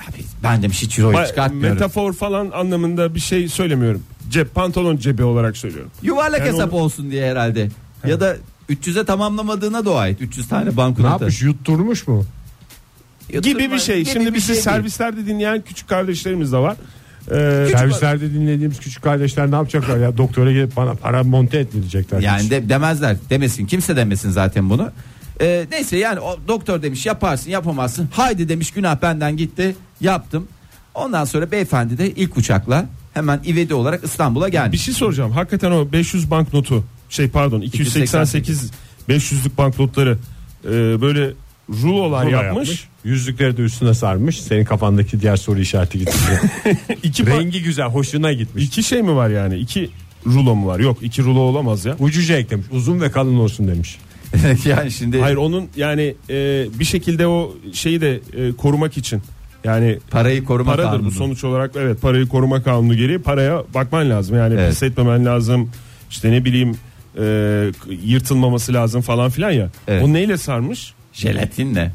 [SPEAKER 4] Abi, ben demiş hiç euroyu
[SPEAKER 5] Ba-
[SPEAKER 4] çıkartmıyorum.
[SPEAKER 5] Metafor falan anlamında bir şey söylemiyorum. Cep pantolon cebi olarak söylüyorum.
[SPEAKER 4] Yuvarlak
[SPEAKER 5] Yani
[SPEAKER 4] hesap
[SPEAKER 5] onu-
[SPEAKER 4] olsun diye herhalde. Ya da 300'e tamamlamadığına dua et. 300 tane
[SPEAKER 3] <laughs> ne
[SPEAKER 4] banknota.
[SPEAKER 3] yapmış? Yutturmuş mu?
[SPEAKER 5] Gibi bir şey.
[SPEAKER 4] Gibi
[SPEAKER 5] Şimdi
[SPEAKER 4] bir
[SPEAKER 5] bizi
[SPEAKER 4] şey
[SPEAKER 5] servislerde dinleyen küçük kardeşlerimiz de var. Ee,
[SPEAKER 3] Servislerde dinlediğimiz küçük kardeşler ne yapacaklar ya? Doktora gelip bana para monte et mi diyecekler?
[SPEAKER 4] Yani de, demezler demesin kimse demesin zaten bunu. Ee, neyse yani o doktor demiş yaparsın yapamazsın. Haydi demiş günah benden gitti yaptım. Ondan sonra beyefendi de ilk uçakla hemen ivedi olarak İstanbul'a
[SPEAKER 5] Bir
[SPEAKER 4] gelmiş.
[SPEAKER 5] şey soracağım. Hakikaten o 500 banknotu şey pardon 288 500'lük banknotları e, böyle rulolar
[SPEAKER 3] Bunu da
[SPEAKER 5] yapmış.
[SPEAKER 3] Yüzükleri de üstüne sarmış. Senin kafandaki diğer soru işareti gitti.
[SPEAKER 5] <laughs>
[SPEAKER 3] <laughs>
[SPEAKER 5] İki, ba-
[SPEAKER 3] Rengi güzel, hoşuna gitmiş.
[SPEAKER 5] iki şey mi var yani? İki rulo mu var? Yok iki rulo olamaz ya.
[SPEAKER 3] Ucuca eklemiş. Uzun ve kalın olsun demiş.
[SPEAKER 4] <laughs> yani şimdi
[SPEAKER 5] şey- Hayır onun yani e, bir şekilde o şeyi de e, korumak için. Yani
[SPEAKER 4] parayı koruma
[SPEAKER 5] paradır
[SPEAKER 4] kanunu.
[SPEAKER 5] bu sonuç olarak evet parayı koruma kanunu gereği paraya bakman lazım. Yani
[SPEAKER 4] Evet.
[SPEAKER 5] pis etmemen lazım. İşte ne bileyim e, yırtılmaması lazım falan filan ya.
[SPEAKER 4] Evet.
[SPEAKER 5] O neyle sarmış?
[SPEAKER 4] Jelatinle.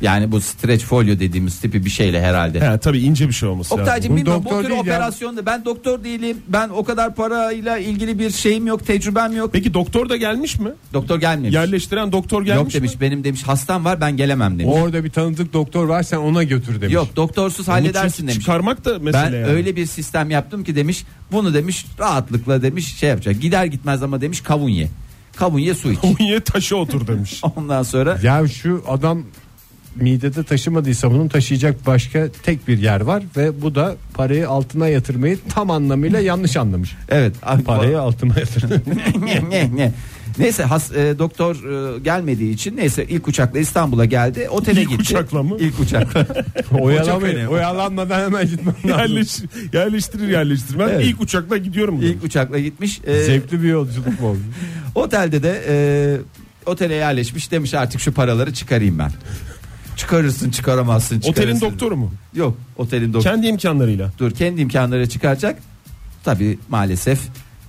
[SPEAKER 4] Yani bu streç folyo dediğimiz tipi bir şeyle herhalde.
[SPEAKER 5] He, tabii ince bir şey olması lazım.
[SPEAKER 4] Oktaycığım
[SPEAKER 3] Bu
[SPEAKER 4] bilmiyorum bu
[SPEAKER 3] doktor
[SPEAKER 4] tür
[SPEAKER 3] değil ya.
[SPEAKER 4] operasyonda ben doktor değilim. Ben o kadar parayla ilgili bir şeyim yok, tecrübem yok.
[SPEAKER 5] Peki doktor da gelmiş mi?
[SPEAKER 4] Doktor gelmemiş.
[SPEAKER 5] Yerleştiren doktor
[SPEAKER 4] yok
[SPEAKER 5] gelmiş
[SPEAKER 4] demiş.
[SPEAKER 5] mi?
[SPEAKER 4] Benim demiş hastam var ben gelemem demiş.
[SPEAKER 3] Orada bir tanıdık doktor var sen ona götür demiş.
[SPEAKER 4] Yok doktorsuz
[SPEAKER 5] Bunu
[SPEAKER 4] halledersin
[SPEAKER 5] çünkü
[SPEAKER 4] demiş.
[SPEAKER 5] Çıkarmak da mesele
[SPEAKER 4] Ben
[SPEAKER 5] yani.
[SPEAKER 4] öyle bir sistem yaptım ki demiş bunu demiş rahatlıkla demiş şey yapacak. Gider gitmez ama demiş kavun ye. Kavun ye su iç.
[SPEAKER 5] <laughs> Konya'ya taşı otur demiş.
[SPEAKER 4] <laughs> Ondan sonra
[SPEAKER 3] Ya şu adam midede taşımadıysa bunun taşıyacak başka tek bir yer var ve bu da parayı altına yatırmayı tam anlamıyla yanlış anlamış.
[SPEAKER 4] evet
[SPEAKER 3] Parayı altına yatırdı.
[SPEAKER 4] ne, ne, ne. Neyse has, e, doktor e, gelmediği için neyse ilk uçakla İstanbul'a geldi. Otele
[SPEAKER 5] İlk
[SPEAKER 4] gitti.
[SPEAKER 5] uçakla mı?
[SPEAKER 4] İlk uçakla.
[SPEAKER 3] <laughs>
[SPEAKER 4] <laughs>
[SPEAKER 3] Oyalamayın.
[SPEAKER 4] önemli.
[SPEAKER 3] Oyalanmadan hemen gitmem lazım.
[SPEAKER 5] Yerleş, yerleştirir yerleştirmez.
[SPEAKER 4] Evet.
[SPEAKER 5] İlk uçakla gidiyorum. demiş.
[SPEAKER 4] ilk uçakla gitmiş. E,
[SPEAKER 3] Zevkli bir yolculuk mu oldu?
[SPEAKER 4] Otelde de e, otele yerleşmiş demiş artık şu paraları çıkarayım ben. Çıkarırsın çıkaramazsın
[SPEAKER 5] Otelin
[SPEAKER 4] çıkarırsın.
[SPEAKER 5] doktoru mu?
[SPEAKER 4] Yok otelin doktoru.
[SPEAKER 5] Kendi imkanlarıyla.
[SPEAKER 4] Dur kendi imkanları çıkaracak. Tabi maalesef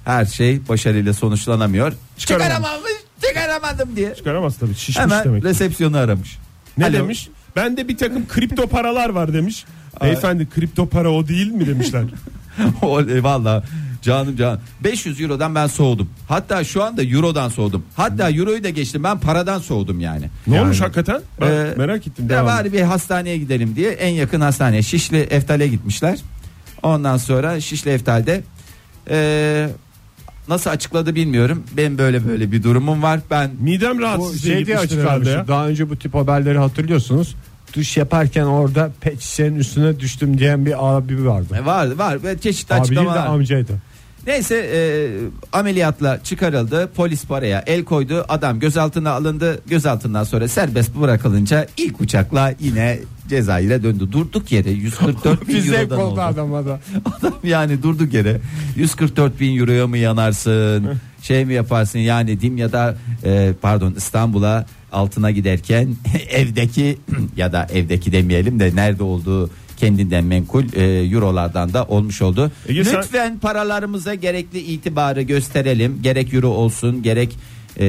[SPEAKER 4] her şey başarıyla sonuçlanamıyor.
[SPEAKER 5] Çıkaramamış.
[SPEAKER 4] Çıkaramamış çıkaramadım diye.
[SPEAKER 5] Çıkaramaz tabii şişmiş
[SPEAKER 4] Hemen
[SPEAKER 5] demek.
[SPEAKER 4] resepsiyonu aramış.
[SPEAKER 5] Ne
[SPEAKER 4] Alo.
[SPEAKER 5] demiş? Bende bir takım kripto paralar var demiş. Beyefendi kripto para o değil mi demişler.
[SPEAKER 4] <laughs> Oley, Valla e, canım canım 500 eurodan ben soğudum. Hatta şu anda eurodan soğudum. Hatta euroyu da geçtim ben paradan soğudum yani.
[SPEAKER 5] ne
[SPEAKER 4] Yani.
[SPEAKER 5] olmuş hakikaten? Ben
[SPEAKER 4] Ee,
[SPEAKER 5] merak ettim.
[SPEAKER 4] Ya
[SPEAKER 5] devamını.
[SPEAKER 4] bari bir hastaneye gidelim diye en yakın hastaneye Şişli Eftal'e gitmişler. Ondan sonra Şişli Eftal'de eee, nasıl açıkladı bilmiyorum. Benim böyle böyle bir durumum var. Ben
[SPEAKER 5] Midem
[SPEAKER 3] Bu
[SPEAKER 5] rahatsız diye
[SPEAKER 3] şey diye
[SPEAKER 5] gitmiştir herhalde
[SPEAKER 3] açıklanmış.
[SPEAKER 5] ya.
[SPEAKER 3] Daha önce bu tip haberleri hatırlıyorsunuz. Duş yaparken orada pet şişenin üstüne düştüm diyen bir abi vardı.
[SPEAKER 4] e, var var ve çeşitli
[SPEAKER 3] Abi değil de
[SPEAKER 4] açıklamalar.
[SPEAKER 3] amcaydı.
[SPEAKER 4] Neyse eee, ameliyatla çıkarıldı. Polis paraya el koydu. Adam gözaltına alındı. Gözaltından sonra serbest bırakılınca ilk uçakla yine Cezayir'e döndü. Durduk yere 144
[SPEAKER 3] <laughs>
[SPEAKER 4] bin
[SPEAKER 3] Bir zevk
[SPEAKER 4] Euro'dan
[SPEAKER 3] oldu
[SPEAKER 4] oldu.
[SPEAKER 3] adama da.
[SPEAKER 4] Adam yani durduk yere 144 bin euroya mı yanarsın şey mi yaparsın yani Dimya'da e, pardon İstanbul'a altına giderken <laughs> evdeki <clears throat> ya da evdeki demeyelim de nerede olduğu kendinden menkul e, eurolardan da olmuş oldu.
[SPEAKER 5] Ege sen-
[SPEAKER 4] Lütfen paralarımıza gerekli itibarı gösterelim. Gerek euro olsun gerek e,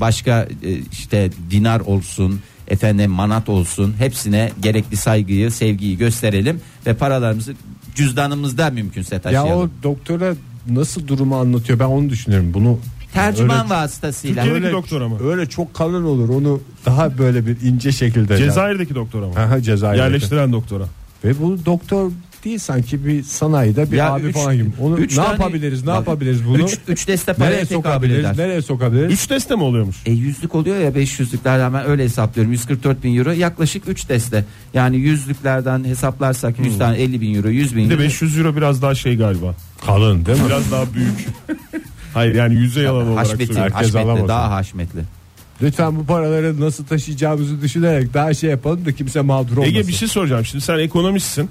[SPEAKER 4] başka e, işte dinar olsun efendim manat olsun hepsine gerekli saygıyı sevgiyi gösterelim ve paralarımızı cüzdanımızda mümkünse
[SPEAKER 3] Ya
[SPEAKER 4] taşıyalım.
[SPEAKER 3] o doktora nasıl durumu anlatıyor ben onu düşünüyorum. Bunu
[SPEAKER 4] Tercüman vasıtasıyla.
[SPEAKER 5] Türkiye'deki doktor ama.
[SPEAKER 3] Öyle çok kalın olur onu daha böyle bir ince şekilde.
[SPEAKER 5] Cezayir'deki doktor ama.
[SPEAKER 3] Aha, Cezayir'deki.
[SPEAKER 5] Yerleştiren doktora.
[SPEAKER 3] Ve bu doktor değil sanki bir sanayide bir
[SPEAKER 4] Ya
[SPEAKER 3] abi
[SPEAKER 4] üç-
[SPEAKER 3] falan gibi. Onu
[SPEAKER 4] üç
[SPEAKER 3] ne
[SPEAKER 4] tane-
[SPEAKER 3] yapabiliriz? Ne
[SPEAKER 4] Bak,
[SPEAKER 3] yapabiliriz bunu?
[SPEAKER 4] Üç, üç deste paraya
[SPEAKER 3] nereye
[SPEAKER 4] tekabül
[SPEAKER 3] sokabiliriz?
[SPEAKER 4] eder.
[SPEAKER 3] Nereye sokabiliriz?
[SPEAKER 5] 3 deste mi oluyormuş?
[SPEAKER 4] E yüzlük oluyor ya 500'lüklerden ben öyle hesaplıyorum 144 bin euro yaklaşık 3 deste yani yüzlüklerden hesaplarsak
[SPEAKER 3] Hmm.
[SPEAKER 4] 100 tane 50 bin euro 100 bin
[SPEAKER 5] Bir de
[SPEAKER 4] euro
[SPEAKER 5] 500 euro biraz daha şey galiba.
[SPEAKER 3] Kalın değil
[SPEAKER 5] Biraz daha büyük. <laughs> Hayır yani yüze yalan olarak
[SPEAKER 4] haşmetli,
[SPEAKER 5] söylüyorum.
[SPEAKER 3] Herkes
[SPEAKER 4] haşmetli
[SPEAKER 3] alamaz.
[SPEAKER 4] daha haşmetli.
[SPEAKER 3] Lütfen bu paraları nasıl taşıyacağımızı düşünerek daha şey yapalım da kimse mağdur olmasın.
[SPEAKER 5] Ege bir şey soracağım. Şimdi sen ekonomistsin.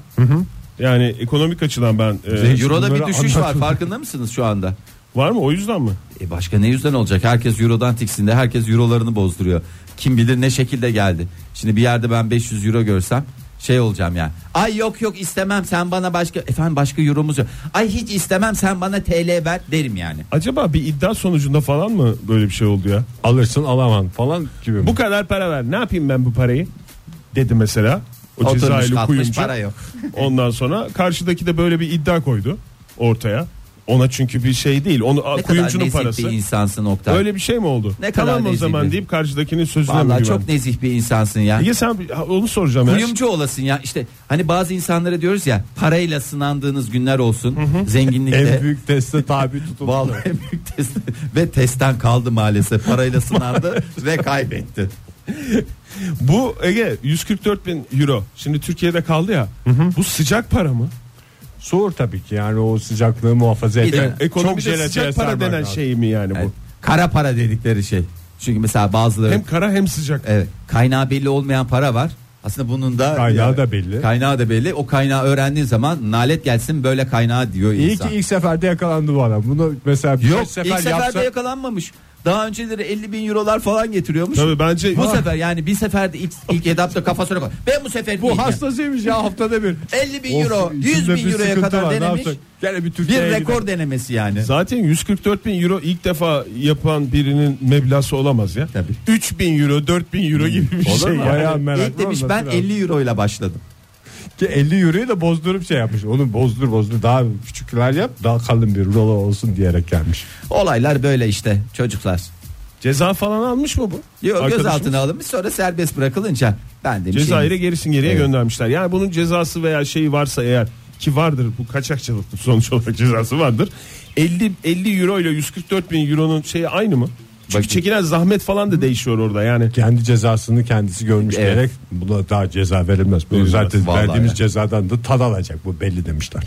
[SPEAKER 5] Yani ekonomik açıdan ben e,
[SPEAKER 3] Zengin.
[SPEAKER 4] Euro'da bir
[SPEAKER 3] bunları
[SPEAKER 4] düşüş var
[SPEAKER 3] anlatın.
[SPEAKER 4] farkında mısınız şu anda?
[SPEAKER 5] var mı o yüzden mi?
[SPEAKER 4] E başka ne yüzden olacak? Herkes Euro'dan tiksindi. Herkes Euro'larını bozduruyor. Kim bilir ne şekilde geldi. Şimdi bir yerde ben 500 Euro görsem şey olacağım yani. Ay yok yok istemem sen bana başka efendim başka Euro'muz yok. Ay hiç istemem sen bana TL ver derim yani.
[SPEAKER 5] Acaba bir iddia sonucunda falan mı böyle bir şey oldu ya?
[SPEAKER 3] Alırsın alaman falan gibi.
[SPEAKER 5] şey- Bu kadar para ver. Ne yapayım ben bu parayı? Dedi mesela. O
[SPEAKER 4] Oturmuş
[SPEAKER 5] Cezayirli
[SPEAKER 4] kalkmış,
[SPEAKER 5] kuyumcu.
[SPEAKER 4] para yok.
[SPEAKER 5] <laughs> Ondan sonra karşıdaki de böyle bir iddia koydu ortaya. Ona çünkü bir şey değil. Onu
[SPEAKER 4] Ne kadar
[SPEAKER 5] kuyumcunun
[SPEAKER 4] nezih
[SPEAKER 5] parası.
[SPEAKER 4] bir insansın Oktay.
[SPEAKER 5] Öyle bir şey mi oldu?
[SPEAKER 4] Ne kadar
[SPEAKER 5] tamam o
[SPEAKER 4] nezih
[SPEAKER 5] zaman
[SPEAKER 4] bir-
[SPEAKER 5] deyip karşıdakinin sözüne mi
[SPEAKER 4] Vallahi
[SPEAKER 5] güvendin?
[SPEAKER 4] çok nezih bir insansın ya.
[SPEAKER 5] Ege sen bir- ha, onu soracağım ya.
[SPEAKER 4] Kuyumcu olasın ya işte hani bazı insanlara diyoruz ya parayla sınandığınız günler olsun zenginlikte
[SPEAKER 3] en büyük teste tabi tutuldu. <laughs>
[SPEAKER 4] Vallahi en büyük test ve testten kaldı maalesef. Parayla
[SPEAKER 3] <laughs>
[SPEAKER 4] sınandı ve
[SPEAKER 3] E
[SPEAKER 4] kaybetti.
[SPEAKER 5] Bu Ege 144 bin euro. Şimdi Türkiye'de kaldı ya. Bu sıcak para mı?
[SPEAKER 3] Soğur tabii ki yani o sıcaklığı muhafaza
[SPEAKER 4] Bir de
[SPEAKER 3] etmek.
[SPEAKER 5] Ekonomide sıcak para denen şey mi yani bu?
[SPEAKER 4] Yani kara para dedikleri şey. Çünkü mesela bazıları
[SPEAKER 5] Hem kara hem sıcak.
[SPEAKER 4] evet, kaynağı belli olmayan para var. Aslında bunun da
[SPEAKER 3] Kaynağı
[SPEAKER 4] yani
[SPEAKER 3] da belli.
[SPEAKER 4] Kaynağı da belli. O kaynağı öğrendiğin zaman nalet gelsin böyle kaynağı diyor
[SPEAKER 3] İyi
[SPEAKER 4] insan.
[SPEAKER 3] ki ilk seferde yakalandı bu adam. Bunu mesela birkaç
[SPEAKER 4] Yok ilk
[SPEAKER 3] sefer
[SPEAKER 4] seferde
[SPEAKER 3] yapsa
[SPEAKER 4] yakalanmamış. Daha önceleri 50 bin eurolar falan getiriyormuş.
[SPEAKER 5] Tabii bence
[SPEAKER 4] Bu sefer yani bir seferde ilk, ilk etapta kafasına bak. Ben bu sefer
[SPEAKER 3] Bu
[SPEAKER 4] bu
[SPEAKER 3] hastasıymış ya haftada bir.
[SPEAKER 4] 50 bin euro, 100 bin euroya kadar denemiş.
[SPEAKER 3] Gene bir
[SPEAKER 4] Bir
[SPEAKER 3] Türkiye'ye
[SPEAKER 4] rekor denemesi yani.
[SPEAKER 5] Zaten 144 bin euro ilk defa yapan birinin meblası olamaz ya.
[SPEAKER 4] Tabii.
[SPEAKER 5] 3 bin euro 4 bin euro gibi bir
[SPEAKER 4] Olur
[SPEAKER 5] şey.
[SPEAKER 4] mu?
[SPEAKER 5] ya.
[SPEAKER 3] Bayağı meraklı
[SPEAKER 4] İlk demiş ben
[SPEAKER 3] olması lazım.
[SPEAKER 4] 50 euro ile başladım.
[SPEAKER 3] Ki 50 euroyu da bozdurup şey yapmış. Onu bozdur bozdur daha küçükler yap daha kalın bir rulo olsun diyerek gelmiş.
[SPEAKER 4] Olaylar böyle işte çocuklar.
[SPEAKER 5] Ceza falan almış mı bu?
[SPEAKER 4] Yok
[SPEAKER 5] Arkadaşımız?
[SPEAKER 4] gözaltına alınmış sonra serbest bırakılınca ben şey demiş.
[SPEAKER 5] Cezayir'e gerisin geriye
[SPEAKER 4] Evet.
[SPEAKER 5] göndermişler. Yani bunun cezası veya şeyi varsa eğer ki vardır bu kaçakçılık sonuç olarak cezası vardır. 50 50 euro ile 144 bin euronun şeyi aynı mı? Çünkü
[SPEAKER 4] Bakayım.
[SPEAKER 5] çekilen zahmet falan da değişiyor orada yani.
[SPEAKER 3] Kendi cezasını kendisi görmüş
[SPEAKER 4] Evet.
[SPEAKER 3] diyerek buna daha ceza verilmez. Bu
[SPEAKER 4] Verilmez,
[SPEAKER 3] zaten
[SPEAKER 4] vallahi
[SPEAKER 3] verdiğimiz
[SPEAKER 4] ya.
[SPEAKER 3] cezadan da tad alacak bu belli demişler.